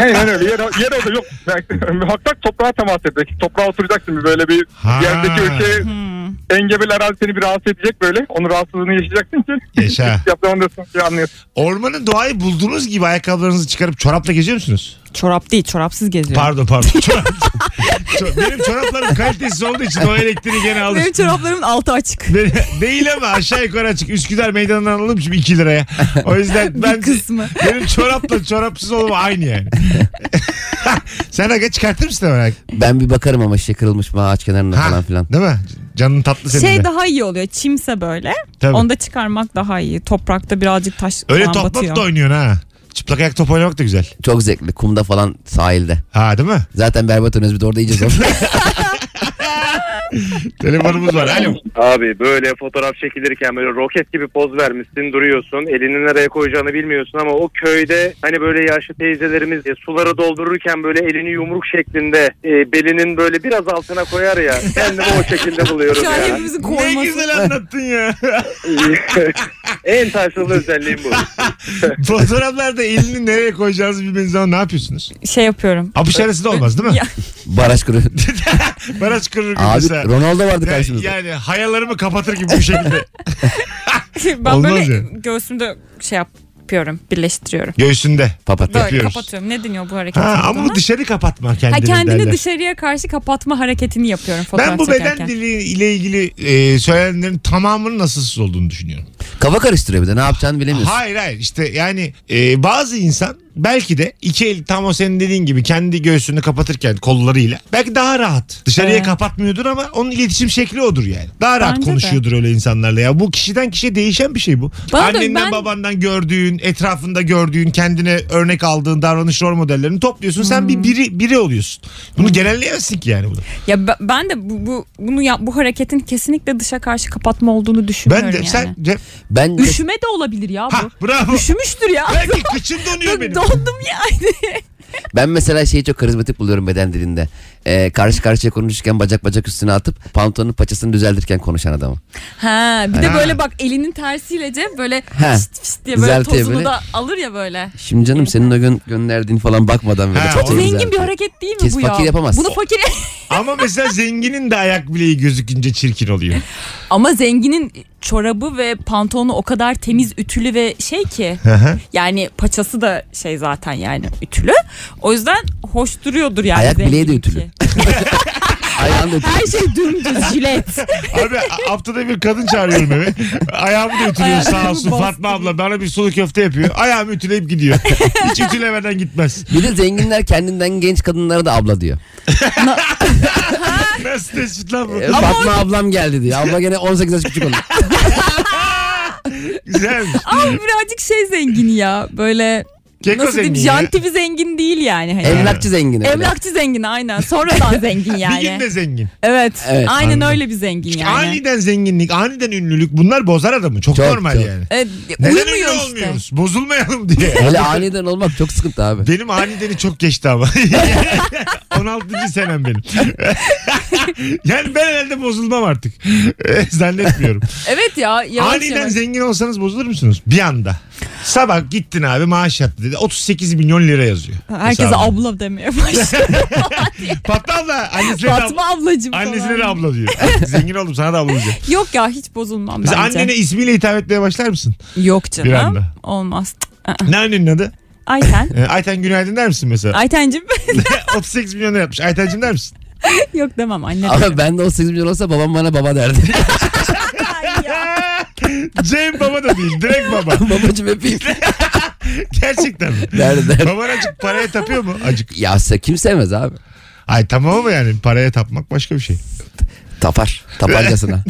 Speaker 5: Aynen öyle. Yer, yer orada yok. Yani, muhakkak toprağa temas edecek. Toprağa oturacaksın bir böyle bir
Speaker 2: Ha. Hmm.
Speaker 5: yerdeki ülke engebeli arazi seni bir rahatsız edecek böyle. Onun rahatsızlığını yaşayacaksın ki.
Speaker 2: Yaşa.
Speaker 5: piknik Yaptığımda diye anlıyorsun.
Speaker 2: Ormanın doğayı bulduğunuz gibi ayakkabılarınızı çıkarıp çorapla geziyor musunuz?
Speaker 7: Çorap değil çorapsız geziyor.
Speaker 2: Pardon pardon. Çorap. Ço- Benim çoraplarım kalitesiz olduğu için o elektriği gene alır.
Speaker 7: Benim çoraplarımın altı açık.
Speaker 2: Beni- Değil ama aşağı yukarı açık. Üsküdar meydanından alalım şimdi 2 liraya. O yüzden ben
Speaker 7: kısmı.
Speaker 2: benim çorapla çorapsız olma aynı yani. Sen aga çıkartır mısın hemen?
Speaker 3: Ben bir bakarım ama şey kırılmış mı ağaç kenarına
Speaker 2: Ha,
Speaker 3: falan filan.
Speaker 2: Değil mi? Canın tatlı senin
Speaker 7: Şey
Speaker 2: de.
Speaker 7: daha iyi oluyor. Çimse böyle.
Speaker 2: Tabii.
Speaker 7: Onda çıkarmak daha iyi. Toprakta birazcık taş
Speaker 2: Öyle
Speaker 7: falan
Speaker 2: top top
Speaker 7: batıyor.
Speaker 2: da oynuyorsun ha. Çıplak ayak top oynamak da güzel.
Speaker 3: Çok zevkli kumda falan sahilde.
Speaker 2: Ha değil mi?
Speaker 3: Zaten berbat önüz bir de orada yiyeceğiz.
Speaker 2: Telefonumuz var. Alo.
Speaker 8: Abi böyle fotoğraf çekilirken böyle roket gibi poz vermişsin duruyorsun. Elini nereye koyacağını bilmiyorsun ama o köyde hani böyle yaşlı teyzelerimiz e, suları doldururken böyle elini yumruk şeklinde e, belinin böyle biraz altına koyar ya. Kendimi o şekilde buluyorum
Speaker 7: Şu an
Speaker 8: ya.
Speaker 7: hepimizi
Speaker 2: Ne
Speaker 7: koruması.
Speaker 2: güzel anlattın ya.
Speaker 8: en taşralı özelliğim bu.
Speaker 2: Fotoğraflarda elini nereye koyacağınızı bilmeniz zaman ne yapıyorsunuz?
Speaker 7: Şey yapıyorum.
Speaker 2: Apış arası da olmaz değil mi?
Speaker 7: Ya,
Speaker 3: Baraj kuru.
Speaker 2: Bana çıkarır gibi
Speaker 3: Abi
Speaker 2: mesela.
Speaker 3: Ronaldo vardı
Speaker 2: Ya-
Speaker 3: karşımızda.
Speaker 2: Yani hayalarımı kapatır gibi bu şekilde.
Speaker 7: ben
Speaker 2: Olmaz
Speaker 7: böyle
Speaker 2: ya.
Speaker 7: göğsümde şey yapıyorum. Birleştiriyorum.
Speaker 2: Göğsünde.
Speaker 3: Papatya.
Speaker 7: Böyle
Speaker 2: Yapıyoruz.
Speaker 7: kapatıyorum. Ne deniyor bu hareket?
Speaker 2: Ha, ama
Speaker 7: adına?
Speaker 2: bu dışarı kapatma kendini,
Speaker 7: Ha, kendini
Speaker 2: derler.
Speaker 7: dışarıya karşı kapatma hareketini yapıyorum fotoğraf
Speaker 2: Ben bu beden
Speaker 7: çekerken.
Speaker 2: dili ile ilgili e, söylenenlerin tamamının nasılsız olduğunu düşünüyorum.
Speaker 3: Kafa karıştırıyor bir de ne yapacağını bilemiyorsun.
Speaker 2: Hayır hayır işte yani e, bazı insan belki de iki el tam o senin dediğin gibi kendi göğsünü kapatırken kollarıyla belki daha rahat. Dışarıya
Speaker 7: Evet.
Speaker 2: kapatmıyordur ama onun iletişim şekli odur yani. Daha rahat
Speaker 7: Bence de.
Speaker 2: konuşuyordur öyle insanlarla ya. Bu kişiden kişiye değişen bir şey bu.
Speaker 7: Bana da-
Speaker 2: Annenden
Speaker 7: ben-
Speaker 2: babandan gördüğün, etrafında gördüğün, kendine örnek aldığın davranış rol modellerini topluyorsun. Sen
Speaker 7: Hmm.
Speaker 2: bir biri biri oluyorsun. Bunu genelleyemezsin ki yani bunu.
Speaker 7: Ya be- ben de bu, bu bunu yap bu hareketin kesinlikle dışa karşı kapatma olduğunu
Speaker 2: Ben
Speaker 7: düşünmüyorum
Speaker 2: de
Speaker 7: yani.
Speaker 2: sen Cem-
Speaker 3: Ben de-
Speaker 7: Üşüme de olabilir ya
Speaker 2: ha
Speaker 7: bu.
Speaker 2: bravo.
Speaker 7: Üşümüştür ya.
Speaker 2: belki kıçın donuyor benim.
Speaker 7: Dondum yani.
Speaker 3: ben mesela şeyi çok karizmatik buluyorum beden dilinde. Ee, karşı karşıya konuşurken bacak bacak üstüne atıp pantolonun paçasını düzeltirken konuşan adamı.
Speaker 7: Ha, bir de
Speaker 2: Ha.
Speaker 7: böyle bak elinin tersiyle Cem böyle
Speaker 3: Ha.
Speaker 7: fişt fişt diye böyle
Speaker 3: Düzeltiyor
Speaker 7: tozunu
Speaker 3: böyle.
Speaker 7: da alır ya böyle.
Speaker 3: Şimdi canım senin o gün gönderdiğin falan bakmadan böyle.
Speaker 2: Ha,
Speaker 3: çok
Speaker 2: o-
Speaker 3: güzel.
Speaker 7: Zengin bir hareket değil mi
Speaker 3: Kes-
Speaker 7: bu ya?
Speaker 3: fakir yapamaz.
Speaker 7: Bunu fakir
Speaker 2: Ama mesela zenginin de ayak bileği gözükünce çirkin oluyor.
Speaker 7: Ama zenginin çorabı ve pantolonu o kadar temiz ütülü ve şey ki.
Speaker 2: hı.
Speaker 7: yani paçası da şey zaten yani ütülü. O yüzden hoş duruyordur yani.
Speaker 3: Ayak bileği de
Speaker 7: zengininki.
Speaker 3: ütülü. Ayağını da
Speaker 7: Her şey dümdüz jilet.
Speaker 2: Abi a- haftada bir kadın çağırıyorum eve. Ayağımı da ütülüyor sağ
Speaker 7: Ayağımı
Speaker 2: olsun.
Speaker 7: bastırıyor.
Speaker 2: Fatma abla bana bir sulu köfte yapıyor. Ayağımı ütüleyip gidiyor. Hiç ütülemeden gitmez.
Speaker 3: Bir de zenginler kendinden genç kadınlara da abla diyor.
Speaker 2: Nasıl tespit lan bu?
Speaker 3: Ee, Fatma ablam geldi diyor. Abla gene 18 yaş küçük oluyor.
Speaker 2: Güzelmiş.
Speaker 7: Ama birazcık şey zengini ya. Böyle
Speaker 2: Keko
Speaker 7: nasıl diyeyim
Speaker 2: zengini ya.
Speaker 7: janti bir zengin değil yani. Hani.
Speaker 3: Emlakçı zengini. öyle.
Speaker 7: Emlakçı zengini aynen. Sonradan zengin yani.
Speaker 2: Bir günde zengin.
Speaker 7: Evet.
Speaker 3: Evet,
Speaker 7: aynen
Speaker 2: anladım.
Speaker 7: öyle bir zengin yani.
Speaker 2: Aniden zenginlik, aniden ünlülük bunlar bozar adamı. Çok,
Speaker 3: Çok,
Speaker 2: normal
Speaker 3: çok.
Speaker 2: yani.
Speaker 7: Evet,
Speaker 2: Neden ünlü
Speaker 7: uyumuyor işte.
Speaker 2: olmuyoruz? Bozulmayalım diye.
Speaker 3: Hele aniden olmak çok sıkıntı abi.
Speaker 2: Benim anideni çok geçti ama. 16. senem benim. yani ben herhalde bozulmam artık. Zannetmiyorum.
Speaker 7: Evet ya yavaş
Speaker 2: Aniden
Speaker 7: yavaş.
Speaker 2: zengin olsanız bozulur musunuz? Bir anda. Sabah gittin abi maaş yattı dedi. 38 milyon lira yazıyor.
Speaker 7: Herkese
Speaker 2: Hesabına.
Speaker 7: abla demeye başladı.
Speaker 2: Fatma abla. Annesine de, abla,
Speaker 7: Fatma ablacım falan.
Speaker 2: annesine de abla diyor. zengin oldum sana da abla diyeceğim.
Speaker 7: Yok ya hiç bozulmam
Speaker 2: Mesela
Speaker 7: bence.
Speaker 2: annene ismiyle hitap etmeye başlar mısın?
Speaker 7: Yok
Speaker 2: Bir
Speaker 7: canım.
Speaker 2: anda.
Speaker 7: Olmaz. Cık, ı-ı.
Speaker 2: Ne annenin adı?
Speaker 7: Ayten.
Speaker 2: Ee, Ayten günaydın der misin mesela?
Speaker 7: Aytencim.
Speaker 2: 38 milyon lira yapmış. Aytencim der misin?
Speaker 7: Yok demem anne.
Speaker 3: Ama ben de 18 milyon olsa babam bana baba derdi.
Speaker 7: Ay ya.
Speaker 2: Cem baba da değil. Direkt baba.
Speaker 3: Babacım öpeyim
Speaker 2: Gerçekten mi?
Speaker 3: derdi derdi.
Speaker 2: Baban acık paraya tapıyor mu? Acık.
Speaker 3: Ya se- kim sevmez abi?
Speaker 2: Ay tamam ama yani paraya tapmak başka bir şey.
Speaker 3: Tapar. Taparcasına.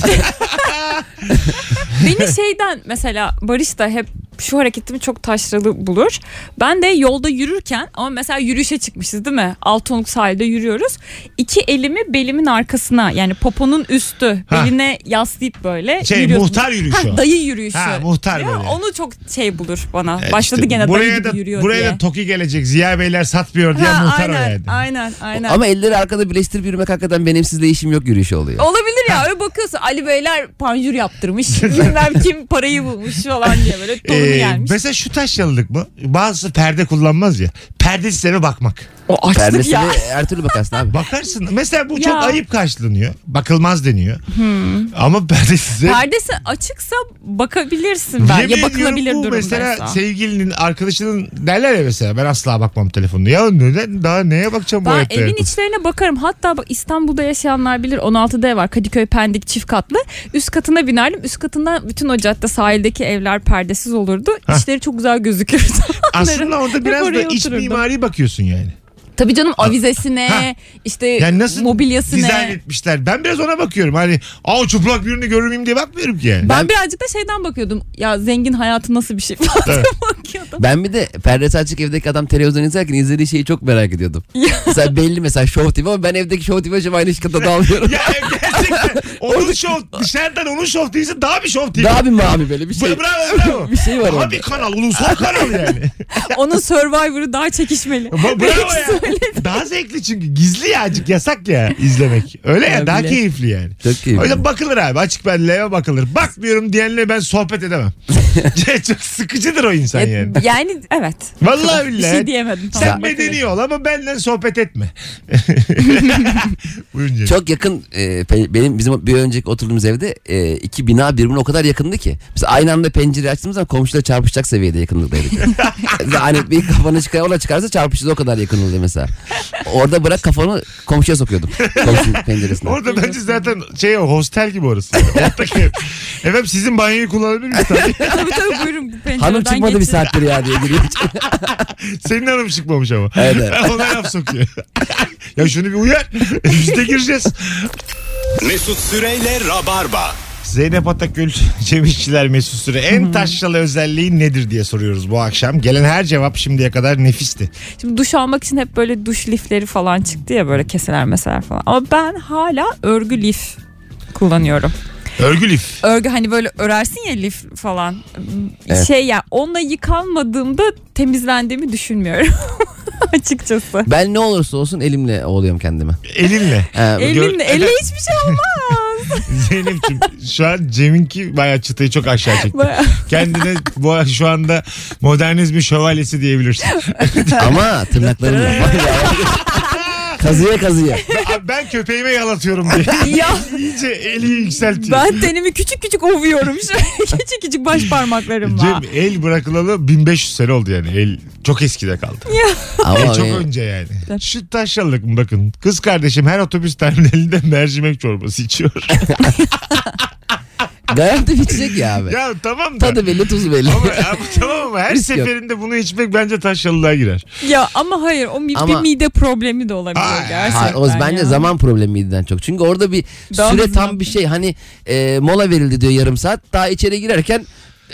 Speaker 7: Beni şeyden mesela Barış da hep şu hareketimi çok taşralı bulur. Ben de yolda yürürken ama mesela yürüyüşe çıkmışız değil mi? Altonuk sahilde yürüyoruz. İki elimi belimin arkasına yani poponun üstü
Speaker 2: Ha.
Speaker 7: beline yaslayıp böyle
Speaker 2: Şey,
Speaker 7: yürüyorsun.
Speaker 2: muhtar yürüyüşü o.
Speaker 7: Ha, dayı yürüyüşü.
Speaker 2: Ha, muhtar
Speaker 7: Değil mi?
Speaker 2: böyle.
Speaker 7: Onu çok şey bulur bana.
Speaker 2: Evet,
Speaker 7: Başladı
Speaker 2: işte
Speaker 7: gene
Speaker 2: buraya
Speaker 7: dayı gibi
Speaker 2: da,
Speaker 7: yürüyor
Speaker 2: Buraya
Speaker 7: diye.
Speaker 2: da Toki gelecek. Ziya Beyler satmıyor diye
Speaker 7: Ha,
Speaker 2: muhtar o
Speaker 7: aynen,
Speaker 2: yani.
Speaker 7: aynen aynen.
Speaker 3: Ama elleri arkada birleştirip yürümek hakikaten benimsizle işim yok yürüyüşü oluyor.
Speaker 7: Olabilir ya öyle bakıyorsun Ali Beyler panjur yaptırmış bilmem kim parayı bulmuş falan diye böyle tonu
Speaker 2: Ee,
Speaker 7: gelmiş.
Speaker 2: mesela şu taş yalılık mı? Bazısı perde kullanmaz ya. Perdesiz eve bakmak.
Speaker 7: O açlık
Speaker 3: Perdesine
Speaker 7: ya.
Speaker 3: her türlü bakarsın abi.
Speaker 2: Bakarsın. Mesela bu çok
Speaker 7: Ya. Hmm.
Speaker 2: ayıp karşılanıyor. Bakılmaz deniyor. Ama perdesiz ev.
Speaker 7: Perdesi açıksa bakabilirsin ben.
Speaker 2: Yemin
Speaker 7: Ya
Speaker 2: ediyorum
Speaker 7: bakılabilir
Speaker 2: bu
Speaker 7: durumdaysa.
Speaker 2: mesela şey- sevgilinin arkadaşının derler ya mesela ben asla bakmam telefonuna. Ya neden daha neye bakacağım bu
Speaker 7: Ben
Speaker 2: hayatta?
Speaker 7: evin
Speaker 2: yani?
Speaker 7: içlerine bakarım. Hatta bak İstanbul'da yaşayanlar bilir 16D var Kadıköy Pendik çift katlı. Üst katına binerdim. Üst katından bütün o cadde sahildeki evler perdesiz olurdu. İçleri çok güzel gözükürdü.
Speaker 2: Aslında orada biraz da
Speaker 7: oraya
Speaker 2: iç
Speaker 7: otururdum.
Speaker 2: mimari bakıyorsun yani.
Speaker 7: Tabii canım
Speaker 2: Ha.
Speaker 7: avizesine, işte
Speaker 2: Yani nasıl
Speaker 7: mobilyasına.
Speaker 2: dizayn etmişler. Ben biraz ona bakıyorum. Hani aa çıplak birini görür müyüm diye bakmıyorum ki yani.
Speaker 7: Ben, birazcık da şeyden bakıyordum. Ya zengin hayatı nasıl bir şey falan diye bakıyordum.
Speaker 3: Ben bir de perdesi açık evdeki adam televizyon izlerken izlediği şeyi çok merak ediyordum. mesela belli mesela Show TV ama ben evdeki Show TV acaba aynı şıkkıda dağılıyorum.
Speaker 2: Ya gerçekten onun şov dışarıdan onun şov değilse daha bir şov değil.
Speaker 3: Daha bir mavi böyle bir şey.
Speaker 2: Bra- Bravo bravo.
Speaker 3: bir şey var
Speaker 2: Daha
Speaker 3: orada.
Speaker 2: bir kanal ulusal kanal yani.
Speaker 7: Onun Survivor'ı daha çekişmeli.
Speaker 2: Ba- Bravo ya. Daha zevkli çünkü gizli ya azıcık yasak ya izlemek. Öyle ya
Speaker 7: Ya
Speaker 2: daha
Speaker 7: bile.
Speaker 2: keyifli yani.
Speaker 3: Çok keyifli.
Speaker 2: Öyle bakılır abi açık benle eve bakılır. Bakmıyorum diyenle ben sohbet edemem. Çok sıkıcıdır o insan
Speaker 7: Ya-
Speaker 2: yani.
Speaker 7: E, yani evet.
Speaker 2: Vallahi
Speaker 7: Bir
Speaker 2: billahi.
Speaker 7: şey diyemedim.
Speaker 2: Sen
Speaker 7: Tamam, bakıyorum.
Speaker 2: medeni ol ama benden sohbet etme. Buyurun canım.
Speaker 3: Çok yakın e, pe- benim bizim bir önceki oturduğumuz evde e, iki bina birbirine o kadar yakındı ki. Biz aynı anda pencereyi açtığımız zaman komşular çarpışacak seviyede yakınlıktaydık. hani bir kafanı çıkar ona çıkarsa çarpışırız o kadar yakınlıkta mesela. Orada bırak kafanı komşuya sokuyordum. Komşunun penceresine.
Speaker 2: Orada bence zaten şey o, hostel gibi orası. Ortak ev. Efendim sizin banyoyu kullanabilir miyiz tabii?
Speaker 7: tabii tabii buyurun bu pencereden
Speaker 3: Hanım çıkmadı bir
Speaker 7: geçin.
Speaker 3: saattir ya diye giriyor.
Speaker 2: Senin hanım çıkmamış ama.
Speaker 3: Evet, evet.
Speaker 2: Ona laf sokuyor. ya şunu bir uyar. Biz de gireceğiz.
Speaker 1: Mesut Süreyle Rabarba.
Speaker 2: Zeynep Atakül, Cem İşçiler Mesut Süre. En taşralı özelliği nedir diye soruyoruz bu akşam. Gelen her cevap şimdiye kadar nefisti.
Speaker 7: Şimdi duş almak için hep böyle duş lifleri falan çıktı ya böyle keseler meseler falan. Ama ben hala örgü lif kullanıyorum.
Speaker 2: Örgü lif.
Speaker 7: Örgü hani böyle örersin ya lif falan.
Speaker 3: Evet.
Speaker 7: Şey ya onunla yıkanmadığımda temizlendiğimi düşünmüyorum. Açıkçası.
Speaker 3: Ben ne olursa olsun elimle oğluyorum kendime.
Speaker 2: Elinle.
Speaker 3: Ee,
Speaker 7: Elinle, elle hiçbir şey olmaz.
Speaker 2: Zeynep'ciğim şu an Cem'inki bayağı çıtayı çok aşağı çekti.
Speaker 7: Bayağı.
Speaker 2: Kendine bu şu anda modernizmin şövalyesi diyebilirsin.
Speaker 3: Ama tırnaklarımla. kazıya kazıya.
Speaker 2: Abi ben köpeğime yalatıyorum diye.
Speaker 7: ya
Speaker 2: İyice eli yükseltiyor. E,
Speaker 7: ben tenimi küçük küçük ovuyorum. Şöyle küçük küçük baş parmaklarımla.
Speaker 2: Cem el bırakılalı 1500 sene oldu yani. El çok eskide kaldı.
Speaker 3: Ama
Speaker 2: El çok
Speaker 3: benim-
Speaker 2: önce yani. Şu taşralık mı bakın. Kız kardeşim her otobüs terminalinde mercimek çorbası içiyor.
Speaker 3: Garanti bitecek ya abi.
Speaker 2: ya tamam da.
Speaker 3: Tadı belli tuzu belli.
Speaker 2: Ama, ama tamam ama her
Speaker 3: Risk yok.
Speaker 2: seferinde bunu içmek bence taşralılığa girer.
Speaker 7: Ya ama hayır o mi-
Speaker 3: Ama-
Speaker 7: bir mide problemi de olabilir
Speaker 2: Ay,
Speaker 7: gerçekten.
Speaker 3: Ha, o bence
Speaker 7: ya.
Speaker 3: zaman problemiydi çok. Çünkü orada bir
Speaker 7: Daha
Speaker 3: süre
Speaker 7: hızlı
Speaker 3: tam
Speaker 7: yaptın.
Speaker 3: bir şey hani e, mola verildi diyor yarım saat. Daha içeri girerken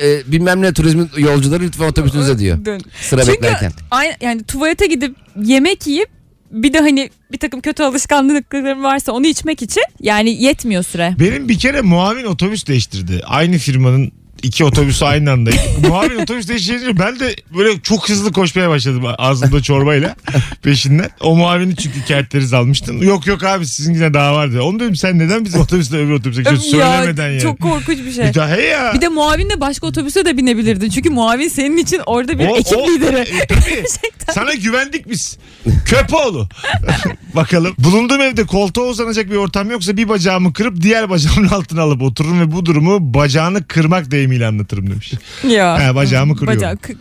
Speaker 3: e, bilmem ne turizmin yolcuları lütfen otobüsünüze diyor.
Speaker 7: Dön.
Speaker 3: Sıra
Speaker 7: Çünkü
Speaker 3: beklerken.
Speaker 7: Aynı, yani tuvalete gidip yemek yiyip bir de hani bir takım kötü alışkanlıklarım varsa onu içmek için yani yetmiyor süre.
Speaker 2: Benim bir kere muavin otobüs değiştirdi. Aynı firmanın iki otobüsü aynı anda. muavin otobüs değiştirince ben de böyle çok hızlı koşmaya başladım ağzımda çorbayla peşinden. O muavini çünkü kertleriz almıştım. Yok yok abi sizinkine daha var diyor. Onu dedim sen neden bizim otobüsle öbür otobüse geçiyorsun? şey Söylemeden yani.
Speaker 7: Çok korkunç bir şey.
Speaker 2: Bir daha hey ya.
Speaker 7: Bir de muavinle başka otobüse de binebilirdin. Çünkü muavin senin için orada bir
Speaker 2: O-
Speaker 7: ekip
Speaker 2: o-
Speaker 7: lideri.
Speaker 2: e, tabii.
Speaker 7: Gerçekten.
Speaker 2: Sana güvendik biz. Köpoğlu. Bakalım. Bulunduğum evde koltuğa uzanacak bir ortam yoksa bir bacağımı kırıp diğer bacağımın altına alıp otururum ve bu durumu bacağını kırmak deyimiyle anlatırım demiş.
Speaker 7: Ya.
Speaker 2: He, bacağımı kırıyorum.
Speaker 7: Bacağı kı-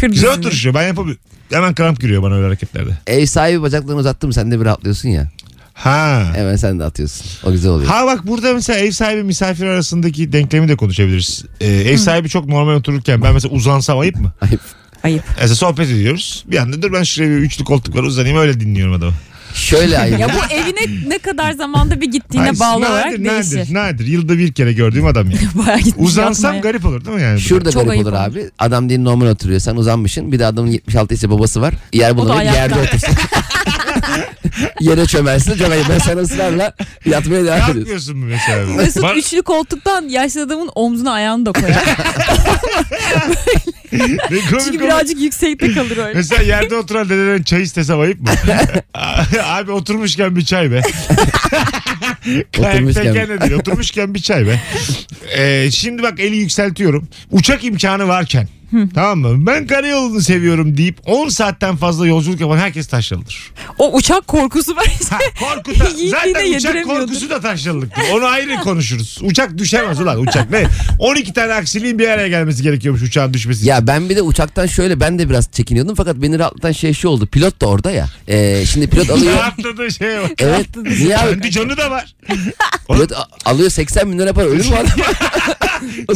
Speaker 7: kır
Speaker 2: Güzel
Speaker 7: dizini.
Speaker 2: oturuşuyor. Ben yapabiliyorum. Hemen kramp giriyor bana öyle hareketlerde.
Speaker 3: Ev sahibi bacaklarını uzattı mı sen de bir rahatlıyorsun ya.
Speaker 2: Ha.
Speaker 3: Hemen sen de atıyorsun. O güzel oluyor.
Speaker 2: Ha bak burada mesela ev sahibi misafir arasındaki denklemi de konuşabiliriz. Ee, ev sahibi çok normal otururken ben mesela uzansam ayıp mı?
Speaker 3: Ayıp.
Speaker 7: Ayıp.
Speaker 2: Mesela sohbet ediyoruz. Bir anda dur ben şuraya bir üçlü koltuk var uzanayım öyle dinliyorum adamı.
Speaker 3: Şöyle ayıp.
Speaker 7: Ya bu evine ne kadar zamanda bir gittiğine
Speaker 2: Ay,
Speaker 7: bağlı
Speaker 2: nadir,
Speaker 7: olarak değişir.
Speaker 2: Nadir, nadir. Yılda bir kere gördüğüm adam yani.
Speaker 7: Bayağı gitmiş
Speaker 2: Uzansam
Speaker 7: yatmaya.
Speaker 2: garip olur değil mi yani?
Speaker 3: Şurada
Speaker 7: Çok
Speaker 3: garip
Speaker 7: ayıp
Speaker 3: olur
Speaker 7: ama.
Speaker 3: abi. Adam değil normal oturuyor. Sen uzanmışsın. Bir de adamın 76 ise babası var. Yer bulamayıp
Speaker 7: ayakta.
Speaker 3: yerde otursun. Yere çömersin. Çok ayıp. Ben sen ısrarla yatmaya devam ediyorsun.
Speaker 2: Kalkmıyorsun mu mesela?
Speaker 7: Mesut
Speaker 2: Bana-
Speaker 7: üçlü koltuktan yaşlı adamın omzuna ayağını da koyar.
Speaker 2: Ne komik
Speaker 7: Çünkü
Speaker 2: olur.
Speaker 7: birazcık yüksekte kalır öyle.
Speaker 2: Mesela yerde oturan dededen çay istesem ayıp mı? Abi oturmuşken bir çay be. Kayaktayken
Speaker 3: Oturmuşken.
Speaker 2: de değil oturmuşken bir çay be. Ee, şimdi bak eli yükseltiyorum. Uçak imkanı varken tamam mı? Ben karayolunu seviyorum deyip 10 saatten fazla yolculuk yapan herkes taşralıdır.
Speaker 7: O uçak korkusu var.
Speaker 2: Ha, korku da-
Speaker 7: Yiğit
Speaker 2: zaten
Speaker 7: yine
Speaker 2: uçak
Speaker 7: yediremiyordur.
Speaker 2: korkusu da taşralıktır. Onu ayrı konuşuruz. Uçak düşemez ulan uçak ne? 12 tane aksiliğin bir araya gelmesi gerekiyormuş uçağın düşmesi.
Speaker 3: Ya ben bir de uçaktan şöyle ben de biraz çekiniyordum fakat beni rahatlatan şey şu oldu. Pilot da orada ya. Ee, şimdi pilot alıyor.
Speaker 2: Rahatladığı şeye bak.
Speaker 3: evet. Niye abi?
Speaker 2: şey Kendi canı da var.
Speaker 3: Pilot a- alıyor 80 bin lira para. Ölür mü adam?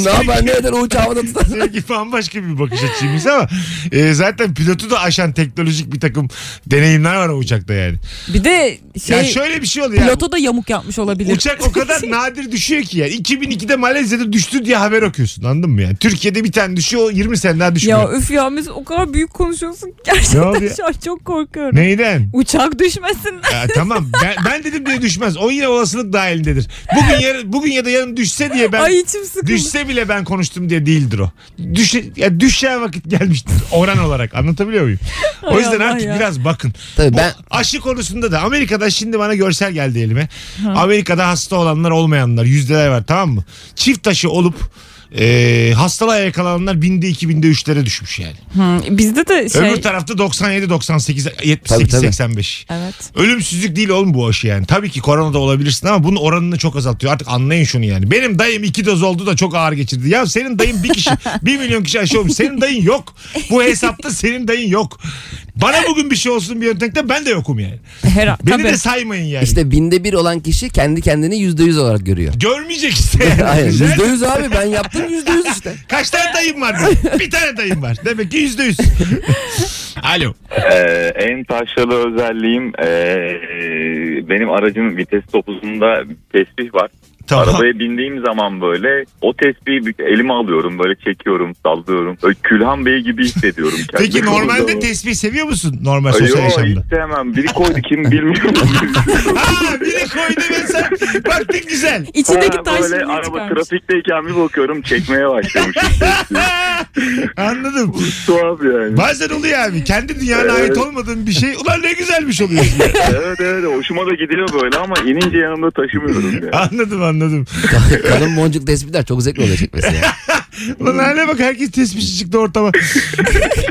Speaker 3: ne yapar ne eder o uçağı havada tutar.
Speaker 2: Sevgi bambaşka bir bakış açısıymış ama e, zaten pilotu da aşan teknolojik bir takım deneyimler var o uçakta yani.
Speaker 7: Bir de şey
Speaker 2: ya şöyle bir şey oluyor. ya.
Speaker 7: pilota da yamuk yapmış olabilir.
Speaker 2: Uçak o kadar nadir düşüyor ki yani. 2002'de Malezya'da düştü diye haber okuyorsun anladın mı yani? Türkiye'de bir tane düşüyor o 20 sene daha düşmüyor.
Speaker 7: ya öf ya Mesut o kadar büyük konuşuyorsun. ki
Speaker 2: Ne oldu
Speaker 7: Gerçekten
Speaker 2: ya?
Speaker 7: şu an çok korkuyorum.
Speaker 2: Neyden?
Speaker 7: Uçak düşmesin.
Speaker 2: Ya, tamam ben, ben dedim diye düşmez. O yine olasılık dahilindedir. Bugün yarın, bugün ya da yarın düşse diye ben
Speaker 7: Ay içim sıkıldı.
Speaker 2: düşse bile ben konuştum diye değildir o. Düşe, ya düşeceği vakit gelmiştir oran olarak anlatabiliyor muyum? O
Speaker 7: Ay
Speaker 2: yüzden
Speaker 7: Allah
Speaker 2: artık
Speaker 7: ya.
Speaker 2: biraz bakın.
Speaker 3: Tabii
Speaker 2: Bu
Speaker 3: ben-
Speaker 2: aşı konusunda da Amerika'da şimdi bana görsel geldi elime. Amerika'da hasta olanlar olmayanlar yüzdeler var tamam mı? Çift taşı olup e, hastalığa yakalananlar binde 2000'de 3'lere düşmüş yani.
Speaker 7: Hı, bizde de şey.
Speaker 2: Öbür tarafta 97, 98, 78,
Speaker 3: Tabii, tabii.
Speaker 2: 85.
Speaker 7: Evet.
Speaker 2: Ölümsüzlük değil oğlum bu aşı yani. Tabii ki korona da olabilirsin ama bunun oranını çok azaltıyor. Artık anlayın şunu yani. Benim dayım iki doz oldu da çok ağır geçirdi. Ya senin dayın bir kişi, bir milyon kişi aşı olmuş. Senin dayın yok. Bu hesapta senin dayın yok. Bana bugün bir şey olsun bir yöntemde ben de yokum yani.
Speaker 7: Her,
Speaker 2: Beni
Speaker 7: tabii.
Speaker 2: de saymayın yani.
Speaker 3: İşte binde bir olan kişi kendi kendini yüzde yüz olarak görüyor.
Speaker 2: Görmeyecek işte. yani.
Speaker 3: Hayır
Speaker 2: Güzel.
Speaker 3: yüzde yüz abi ben yaptım yüzde yüz işte.
Speaker 2: Kaç tane dayım var? benim? bir tane dayım var. Demek ki yüzde yüz. Alo.
Speaker 9: Ee, en taşralı özelliğim ee, benim aracın vites topuzunda tesbih var.
Speaker 2: Tamam.
Speaker 9: Arabaya bindiğim zaman böyle o tesbihi bir- elime alıyorum böyle çekiyorum sallıyorum. Böyle Külhan Bey gibi hissediyorum kendimi.
Speaker 2: Peki normalde tesbih seviyor musun normal sosyal
Speaker 9: Yok
Speaker 2: yaşamda?
Speaker 9: istemem. Biri koydu kim bilmiyorum.
Speaker 2: Aa biri koydu ve sen baktın güzel.
Speaker 7: İçindeki
Speaker 9: Ha,
Speaker 7: taş
Speaker 9: Böyle
Speaker 7: şimdi
Speaker 9: araba
Speaker 7: çıkarmış.
Speaker 9: trafikteyken bir bakıyorum çekmeye başlamışım.
Speaker 2: Anladım.
Speaker 9: Tuhaf yani.
Speaker 2: Bazen oluyor abi. Kendi dünyana ait olmadığın bir şey. Ulan ne güzelmiş oluyor.
Speaker 9: evet evet hoşuma da gidiyor böyle ama inince yanımda taşımıyorum yani.
Speaker 2: anladım anladım.
Speaker 3: Kalın boncuk tespitler çok zevkli oluyor çekmesi ya.
Speaker 2: Ulan hale bak herkes tespihçi çıktı ortama.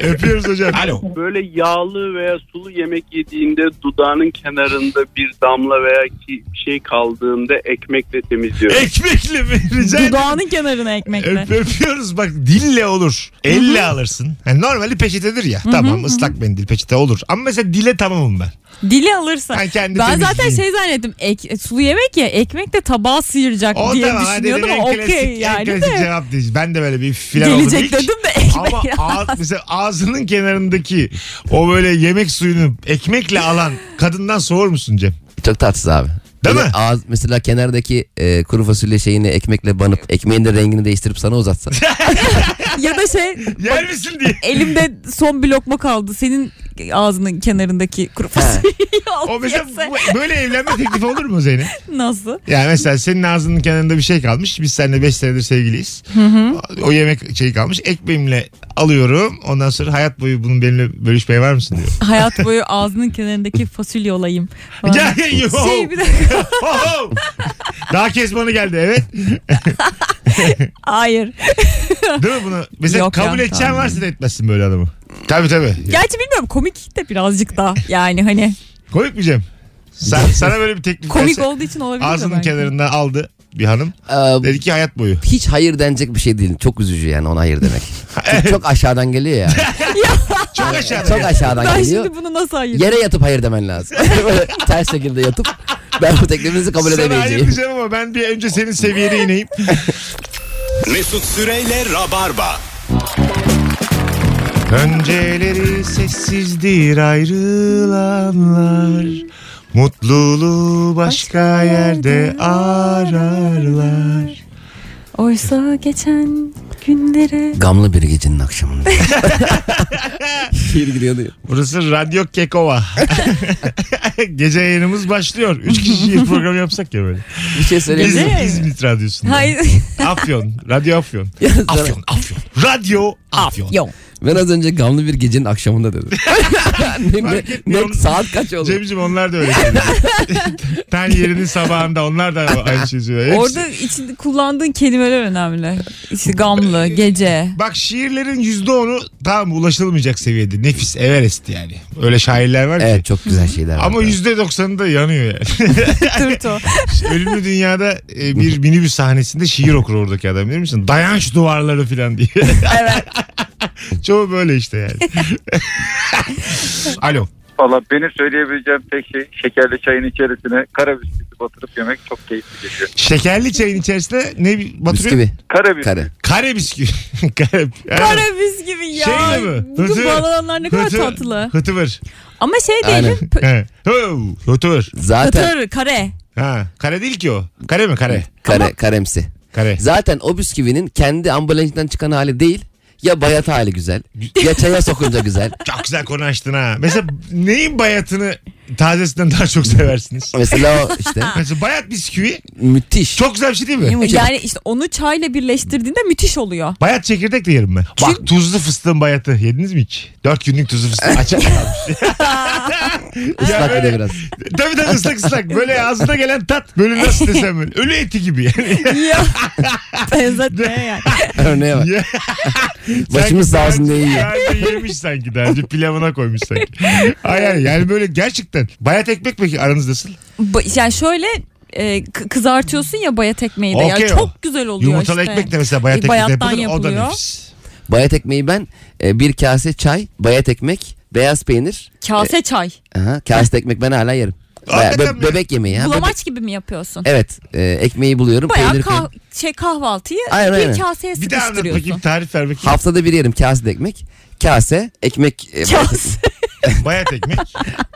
Speaker 2: Öpüyoruz hocam. Alo.
Speaker 10: Böyle yağlı veya sulu yemek yediğinde dudağının kenarında bir damla veya ki bir şey kaldığında ekmekle temizliyorum.
Speaker 2: Ekmekle mi? Rica ederim.
Speaker 7: Dudağının kenarına ekmekle.
Speaker 2: Öp- öpüyoruz bak dille olur. Elle alırsın. Yani normali peçetedir ya. tamam ıslak mendil peçete olur. Ama mesela dile tamamım ben.
Speaker 7: Dili alırsa.
Speaker 2: Ben kendi
Speaker 7: ben zaten
Speaker 2: temizleyeyim.
Speaker 7: şey zannettim. Ek, e, sulu yemek ya ekmek de tabağa sıyıracak
Speaker 2: O
Speaker 7: diye
Speaker 2: tamam hadi
Speaker 7: düşünüyordum.
Speaker 2: dedim,
Speaker 7: ama
Speaker 2: en klasik,
Speaker 7: Okey
Speaker 2: en
Speaker 7: yani
Speaker 2: klasik
Speaker 7: de.
Speaker 2: cevap diyeceğim. Ben de böyle bir filan oldum
Speaker 7: Gelecek
Speaker 2: ilk.
Speaker 7: dedim de ekmek
Speaker 2: Ama
Speaker 7: ya.
Speaker 2: ağız, mesela ağzının kenarındaki o böyle yemek suyunu ekmekle alan kadından soğur musun Cem?
Speaker 3: Çok tatsız abi.
Speaker 2: Değil
Speaker 3: Böyle
Speaker 2: mi?
Speaker 3: Ağız, mesela kenardaki e, kuru fasulye şeyini ekmekle banıp ekmeğin de rengini değiştirip sana uzatsa.
Speaker 7: ya da şey
Speaker 2: Yer misin diye.
Speaker 7: elimde son bir lokma kaldı. Senin ağzının kenarındaki kuru fasulyeyi al
Speaker 2: O mesela
Speaker 7: yese.
Speaker 2: bu- böyle evlenme teklifi olur mu Zeynep?
Speaker 7: Nasıl?
Speaker 2: Yani mesela senin ağzının kenarında bir şey kalmış. Biz seninle 5 senedir sevgiliyiz. O yemek şeyi kalmış. Ekmeğimle alıyorum. Ondan sonra hayat boyu bunun benimle bölüşmeye var mısın diyor.
Speaker 7: Hayat boyu ağzının kenarındaki fasulye olayım. falan.
Speaker 2: Ya, yo.
Speaker 7: Şey bir de
Speaker 2: Oho! Daha kesmanı geldi evet.
Speaker 7: hayır.
Speaker 2: Değil mi bunu? Mesela
Speaker 7: Yok
Speaker 2: kabul
Speaker 7: ya,
Speaker 2: edeceğin
Speaker 7: tamam.
Speaker 2: varsa da etmezsin böyle adamı. Tabii tabii.
Speaker 7: Gerçi bilmiyorum komik de birazcık da yani hani
Speaker 2: Komik mi Cem? Sa- sana böyle bir teklif
Speaker 7: komik
Speaker 2: gelse-
Speaker 7: olduğu için olabilir de
Speaker 2: Ağzının
Speaker 7: belki.
Speaker 2: kenarından aldı bir hanım.
Speaker 3: Ee,
Speaker 2: Dedi ki hayat boyu.
Speaker 3: hiç hayır denecek bir şey değil. Çok üzücü yani ona hayır demek. Çünkü çok aşağıdan geliyor ya.
Speaker 2: Çok aşağıda.
Speaker 3: Çok aşağıdan
Speaker 7: Ben
Speaker 3: geliyor.
Speaker 7: şimdi bunu nasıl ayırdım?
Speaker 3: Yere yatıp hayır demen lazım. Böyle Ters şekilde yatıp ben bu teklifinizi kabul
Speaker 2: Sana hayır
Speaker 3: edemeyeceğim.
Speaker 2: diyeceğim ama ben bir önce senin seviyene ineyim.
Speaker 1: Mesut Süreyle Rabarba.
Speaker 2: Önceleri sessizdir ayrılanlar. Mutluluğu başka yerde ararlar.
Speaker 7: Oysa geçen günlere
Speaker 3: Gamlı bir gecenin akşamında. Şiir giriyordu ya.
Speaker 2: Burası Radyo Kekova. Gece yayınımız başlıyor. Üç kişi program yapsak ya böyle.
Speaker 3: Bir şey söyleyeyim
Speaker 2: İzmit,
Speaker 3: mi?
Speaker 2: İzmit Radyosu'nda.
Speaker 7: Hayır.
Speaker 2: Afyon. Radyo Afyon.
Speaker 3: Ya sana-
Speaker 2: Afyon, Afyon. Radyo Afyon.
Speaker 7: Yok.
Speaker 3: Ben az önce gamlı bir gecenin akşamında dedim. ne, ne-
Speaker 2: etmiyorum.
Speaker 3: ne- saat kaç oldu?
Speaker 2: Cemciğim onlar da öyle söylüyor. Ten yerinin sabahında onlar da aynı şeyi söylüyor. Hepsi-
Speaker 7: Orada içinde kullandığın kelimeler önemli. İşte gamlı, gece.
Speaker 2: Bak şiirlerin yüzde onu tam ulaşılmayacak seviyede. Nefis Everest yani. Öyle şairler var ki.
Speaker 3: Evet çok güzel şeyler var.
Speaker 2: Ama yüzde doksanı da yanıyor yani.
Speaker 7: Tırto.
Speaker 2: Ölümlü Dünya'da e, bir minibüs sahnesinde şiir okur oradaki adam bilir misin? Dayan şu duvarları falan diye.
Speaker 7: Evet.
Speaker 2: Çoğu böyle işte yani. Alo.
Speaker 4: Valla benim söyleyebileceğim tek şey şekerli çayın içerisine kara bisküvi batırıp yemek çok keyifli geliyor.
Speaker 2: Şekerli çayın içerisine ne batırıyor?
Speaker 3: Bisküvi.
Speaker 4: Kara bisküvi.
Speaker 3: Kare.
Speaker 2: Kare bisküvi. Kare.
Speaker 7: Karabiz gibi ya.
Speaker 2: Şey mi bu?
Speaker 7: Bugün
Speaker 2: Hıtı-
Speaker 7: bu alanlar ne kadar
Speaker 2: Hıtı-
Speaker 7: tatlı.
Speaker 2: Hıtıvır.
Speaker 7: Ama şey
Speaker 3: Aynen.
Speaker 7: değilim. p-
Speaker 2: He. Hıv, Hıtıvır.
Speaker 3: Zaten
Speaker 7: Katır, kare.
Speaker 2: Ha, kare değil ki o. Kare mi kare?
Speaker 3: kare, karemsi.
Speaker 2: Kare.
Speaker 3: Zaten o bisküvinin kendi ambalajından çıkan hali değil. Ya bayat hali güzel. ya çaya sokunca güzel.
Speaker 2: Çok güzel konu açtın ha. Mesela neyin bayatını tazesinden daha çok seversiniz?
Speaker 3: Mesela o işte
Speaker 2: Mesela bayat bisküvi
Speaker 3: müthiş.
Speaker 2: çok güzel bir şey değil mi?
Speaker 3: Yumuşak.
Speaker 7: Yani işte onu çayla birleştirdiğinde müthiş oluyor.
Speaker 2: Bayat çekirdek de yerim ben. Bak tuzlu fıstığın bayatı yediniz mi hiç? Dört günlük tuzlu fıstık açık kalmış.
Speaker 3: Islak bir de
Speaker 2: böyle-
Speaker 3: biraz.
Speaker 2: tabii tabii ıslak ıslak. Böyle ağzına gelen tat. Böyle nasıl desem böyle. Ölü eti gibi yani.
Speaker 7: Ya. Benzetmeye yani.
Speaker 3: Örneğe bak.
Speaker 2: Ya.
Speaker 3: Başımız sağ olsun diye yiyor.
Speaker 2: Nerede yemiş sanki daha önce pilavına koymuş sanki. Hayır hayır yani böyle gerçekten. Bayat ekmek peki aranız nasıl?
Speaker 7: Ba- yani şöyle e, k- kızartıyorsun ya bayat ekmeği de.
Speaker 2: Okey
Speaker 7: ya.
Speaker 2: o.
Speaker 7: Çok güzel oluyor
Speaker 2: Yumurtalı
Speaker 7: işte.
Speaker 2: ekmek de mesela bayat
Speaker 7: E,
Speaker 2: ekmek de
Speaker 7: bayattan
Speaker 2: yapılır. O da
Speaker 7: yapılıyor.
Speaker 2: nefis.
Speaker 3: Bayat ekmeği ben e, bir kase çay, bayat ekmek, beyaz peynir.
Speaker 2: E-
Speaker 7: Kase çay.
Speaker 3: Aha, kase ekmek ben hala yerim. Baya-
Speaker 2: Hakikaten
Speaker 3: be-
Speaker 2: mi?
Speaker 3: bebek yemeği. Ha, bebek-
Speaker 7: Bulamaç gibi mi yapıyorsun?
Speaker 3: Evet e, ekmeği buluyorum
Speaker 7: Bayağı
Speaker 3: peynir
Speaker 7: kah-
Speaker 3: koyuyorum.
Speaker 7: şey kahvaltıyı
Speaker 3: Aynen,
Speaker 7: bir
Speaker 3: aynen.
Speaker 7: kaseye
Speaker 2: Bir daha anlat bakayım
Speaker 7: sıkıştırıyorsun.
Speaker 2: tarif ver bakayım.
Speaker 3: Haftada bir yerim kase ekmek. Kase ekmek e, bayat ekmek.
Speaker 7: Kase.
Speaker 2: Bayat ekmek.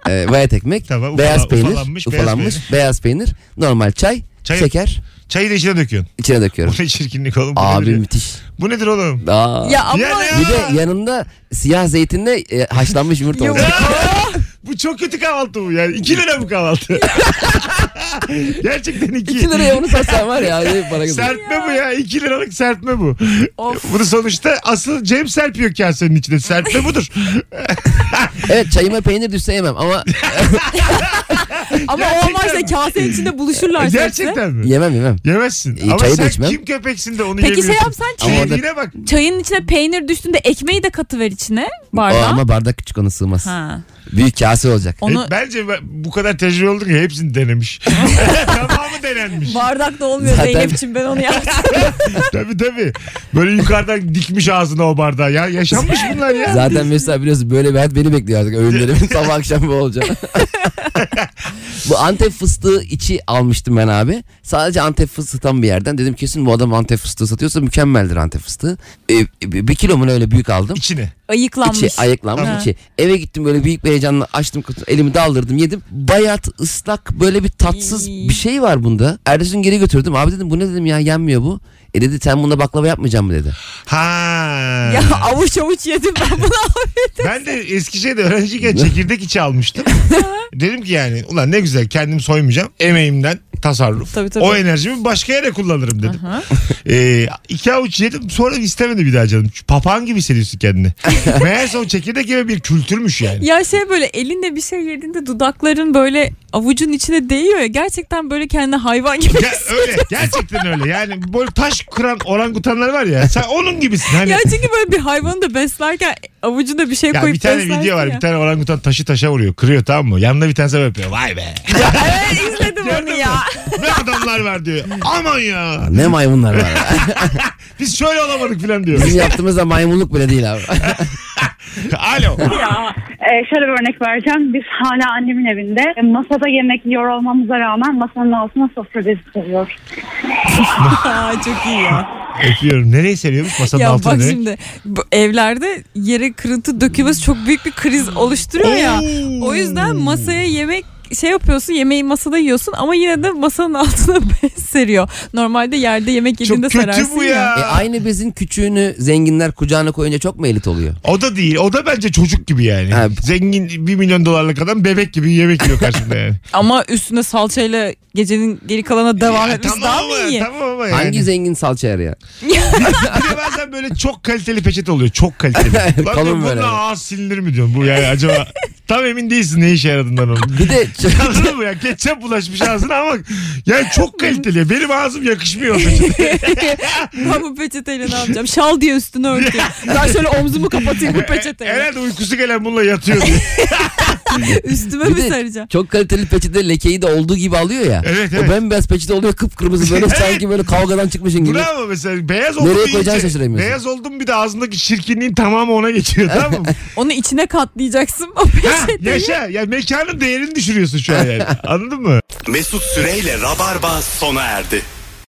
Speaker 3: E, bayat ekmek,
Speaker 2: Tamam,
Speaker 3: beyaz
Speaker 2: ufala-
Speaker 3: peynir,
Speaker 2: ufalanmış,
Speaker 3: ufalanmış,
Speaker 2: beyaz
Speaker 3: beyaz, peynir. normal çay,
Speaker 2: Çay-
Speaker 3: şeker
Speaker 2: Çayı da içine döküyorsun.
Speaker 3: içine
Speaker 2: Bu
Speaker 3: döküyorum.
Speaker 2: ne çirkinlik oğlum. Bu,
Speaker 3: Abi
Speaker 2: nedir, ya?
Speaker 3: müthiş.
Speaker 2: bu nedir oğlum?
Speaker 3: Aa.
Speaker 7: Ya ama
Speaker 2: Ya ne-
Speaker 3: Bir de yanında siyah zeytinle e, haşlanmış yumurta
Speaker 7: Yok.
Speaker 3: olacak.
Speaker 2: Bu çok kötü kahvaltı bu yani. 2 lira bu kahvaltı. Gerçekten 2.
Speaker 3: 2 liraya onu satsan var ya. ne Para kazanır.
Speaker 2: Serpme bu ya. 2 liralık serpme bu.
Speaker 7: Of.
Speaker 2: Bunu sonuçta asıl Cem serpiyor kasenin içinde. Serpme budur.
Speaker 3: Evet çayıma peynir düşse yemem ama
Speaker 7: ama olmazsa kasenin içinde buluşurlar. hepsi.
Speaker 2: E, Gerçekten mi?
Speaker 3: yemem yemem.
Speaker 2: Yemezsin.
Speaker 3: E,
Speaker 2: Ama
Speaker 3: çayı da
Speaker 2: sen
Speaker 3: içmem.
Speaker 2: kim köpeksin de onu
Speaker 7: Peki şey
Speaker 2: yemiyorsun.
Speaker 7: yapsan çay-
Speaker 2: Çiğnediğine bak.
Speaker 7: Çayın içine peynir düştüğünde ekmeği de katıver içine
Speaker 3: O
Speaker 7: bardağa.
Speaker 3: ama bardak küçük ona sığmaz.
Speaker 7: Ha.
Speaker 3: Büyük kase olacak.
Speaker 7: Onu
Speaker 2: E, bence ben- bu kadar tecrübe olduk ya hepsini denemiş. Tamamı denenmiş.
Speaker 7: bardak da olmuyor
Speaker 3: Zaten-
Speaker 7: Zeynep'ciğim ben onu yaptım.
Speaker 2: tabii tabii. Böyle yukarıdan dikmiş ağzına o bardağı ya. Yaşanmış bunlar ya.
Speaker 3: Zaten mesela biliyorsun böyle bir hayat beni bekliyor artık öğünlerimin sabah akşam bu olacak. bu Antep fıstığı içi almıştım ben abi. Sadece Antep fıstığı tam bir yerden. Dedim kesin bu adam Antep fıstığı satıyorsa mükemmeldir Antep fıstığı. E, e, bir kilo mu ne öyle büyük aldım.
Speaker 2: İçine.
Speaker 7: Ayıklanmış.
Speaker 3: İçi ayıklanmış
Speaker 7: Ha.
Speaker 3: içi. Eve gittim böyle büyük bir heyecanla açtım kutu elimi daldırdım yedim. Bayat ıslak böyle bir tatsız
Speaker 7: İy.
Speaker 3: bir şey var bunda. Ertesi gün geri götürdüm. Abi dedim bu ne dedim ya yenmiyor bu. E dedi sen bunda baklava yapmayacaksın mı dedi.
Speaker 2: Ha.
Speaker 7: Ya avuç avuç yedim ben bunu abi.
Speaker 2: Ben de Eskişehir'de öğrenciyken çekirdek içi almıştım. Dedim ki yani ulan ne güzel kendim soymayacağım. Emeğimden tasarruf.
Speaker 7: Tabii, tabii.
Speaker 2: O enerjimi başka yere kullanırım dedim. Ee, iki avuç yedim sonra istemedi bir daha canım. Şu Papağan gibi hissediyorsun kendini. Meğerse o çekirdek gibi bir kültürmüş yani.
Speaker 7: Ya şey böyle elinle bir şey yediğinde dudakların böyle avucun içine değiyor ya. Gerçekten böyle kendini hayvan gibi
Speaker 2: Ge- öyle gerçekten öyle yani böyle taş kıran orangutanlar var ya sen onun gibisin hani
Speaker 7: Ya çünkü böyle bir hayvanı da beslerken avucuna bir şey
Speaker 2: Ya
Speaker 7: koyup
Speaker 2: bir tane
Speaker 7: beslersin
Speaker 2: video var.
Speaker 7: ya.
Speaker 2: Bir tane orangutan taşı taşa vuruyor. Kırıyor tamam mı? Yanında bir tane sebep yapıyor. Vay be.
Speaker 7: Evet izledim onu ya.
Speaker 2: ne adamlar var diyor. Aman ya.
Speaker 3: Ne maymunlar var. ya.
Speaker 2: Biz şöyle olamadık falan diyor.
Speaker 3: Bizim yaptığımız da maymunluk bile değil abi.
Speaker 2: Alo.
Speaker 11: Ya e, şöyle bir örnek vereceğim. Biz hala annemin evinde e, masada yemek yiyor olmamıza rağmen masanın altına sofra bezi koyuyor.
Speaker 7: Aa, çok iyi ya.
Speaker 2: Öpüyorum. Nereyi seviyormuş? Masanın
Speaker 7: Ya
Speaker 2: altına
Speaker 7: bak
Speaker 2: ne?
Speaker 7: şimdi bu evlerde yere kırıntı dökülmesi çok büyük bir kriz oluşturuyor ya. O yüzden masaya yemek şey yapıyorsun yemeği masada yiyorsun ama yine de masanın altına bez seriyor. Normalde yerde yemek
Speaker 2: Çok
Speaker 7: yediğinde
Speaker 2: kötü
Speaker 7: sararsın
Speaker 2: bu ya.
Speaker 3: E, aynı bezin küçüğünü zenginler kucağına koyunca çok mu elit oluyor?
Speaker 2: O da değil. O da bence çocuk gibi yani.
Speaker 3: Ha.
Speaker 2: Zengin 1 milyon dolarlık adam bebek gibi yemek yiyor karşımda yani.
Speaker 7: Ama üstüne salçayla gecenin geri kalanına devam
Speaker 2: Ya
Speaker 7: etmesi
Speaker 2: tamam
Speaker 7: daha mı iyi?
Speaker 2: ama, tamam ama yani.
Speaker 3: Hangi zengin salça ya?
Speaker 2: Bir de bazen böyle çok kaliteli peçete oluyor. Çok kaliteli. Ulan
Speaker 3: Kalın
Speaker 2: diyorum,
Speaker 3: böyle.
Speaker 2: bununla ağız silinir mi diyorum bu yani acaba. Tam emin değilsin ne işe yaradığından onun.
Speaker 3: Bir de
Speaker 2: Anladın mı ya? Ketçap bulaşmış ağzına ama yani çok kaliteli. Benim ağzım yakışmıyor.
Speaker 7: ben bu peçeteyle ne yapacağım? Şal diye üstünü örtüyor. Ben şöyle omzumu kapatayım bu peçeteyle.
Speaker 2: E, Herhalde uykusu gelen bununla yatıyor diye.
Speaker 7: Üstüme
Speaker 3: bir
Speaker 7: mi
Speaker 3: de
Speaker 7: saracağım?
Speaker 3: çok kaliteli peçete lekeyi de olduğu gibi alıyor ya.
Speaker 2: Evet,
Speaker 3: O
Speaker 2: evet.
Speaker 3: bembeyaz peçete oluyor kıpkırmızı böyle
Speaker 2: Evet.
Speaker 3: sanki böyle kavgadan çıkmışın gibi.
Speaker 2: Bravo mesela beyaz oldum
Speaker 3: Nereye
Speaker 2: iyice-
Speaker 3: koyacağını şaşıramıyorsun.
Speaker 2: Beyaz oldum bir de ağzındaki çirkinliğin tamamı ona geçiyor tamam mı?
Speaker 7: Onu içine katlayacaksın o
Speaker 2: ha,
Speaker 7: peçeteyi.
Speaker 2: yaşa. Ya mekanın değerini düşürüyorsun şu an yani. Anladın mı?
Speaker 1: Mesut Süreyle Rabarba sona erdi.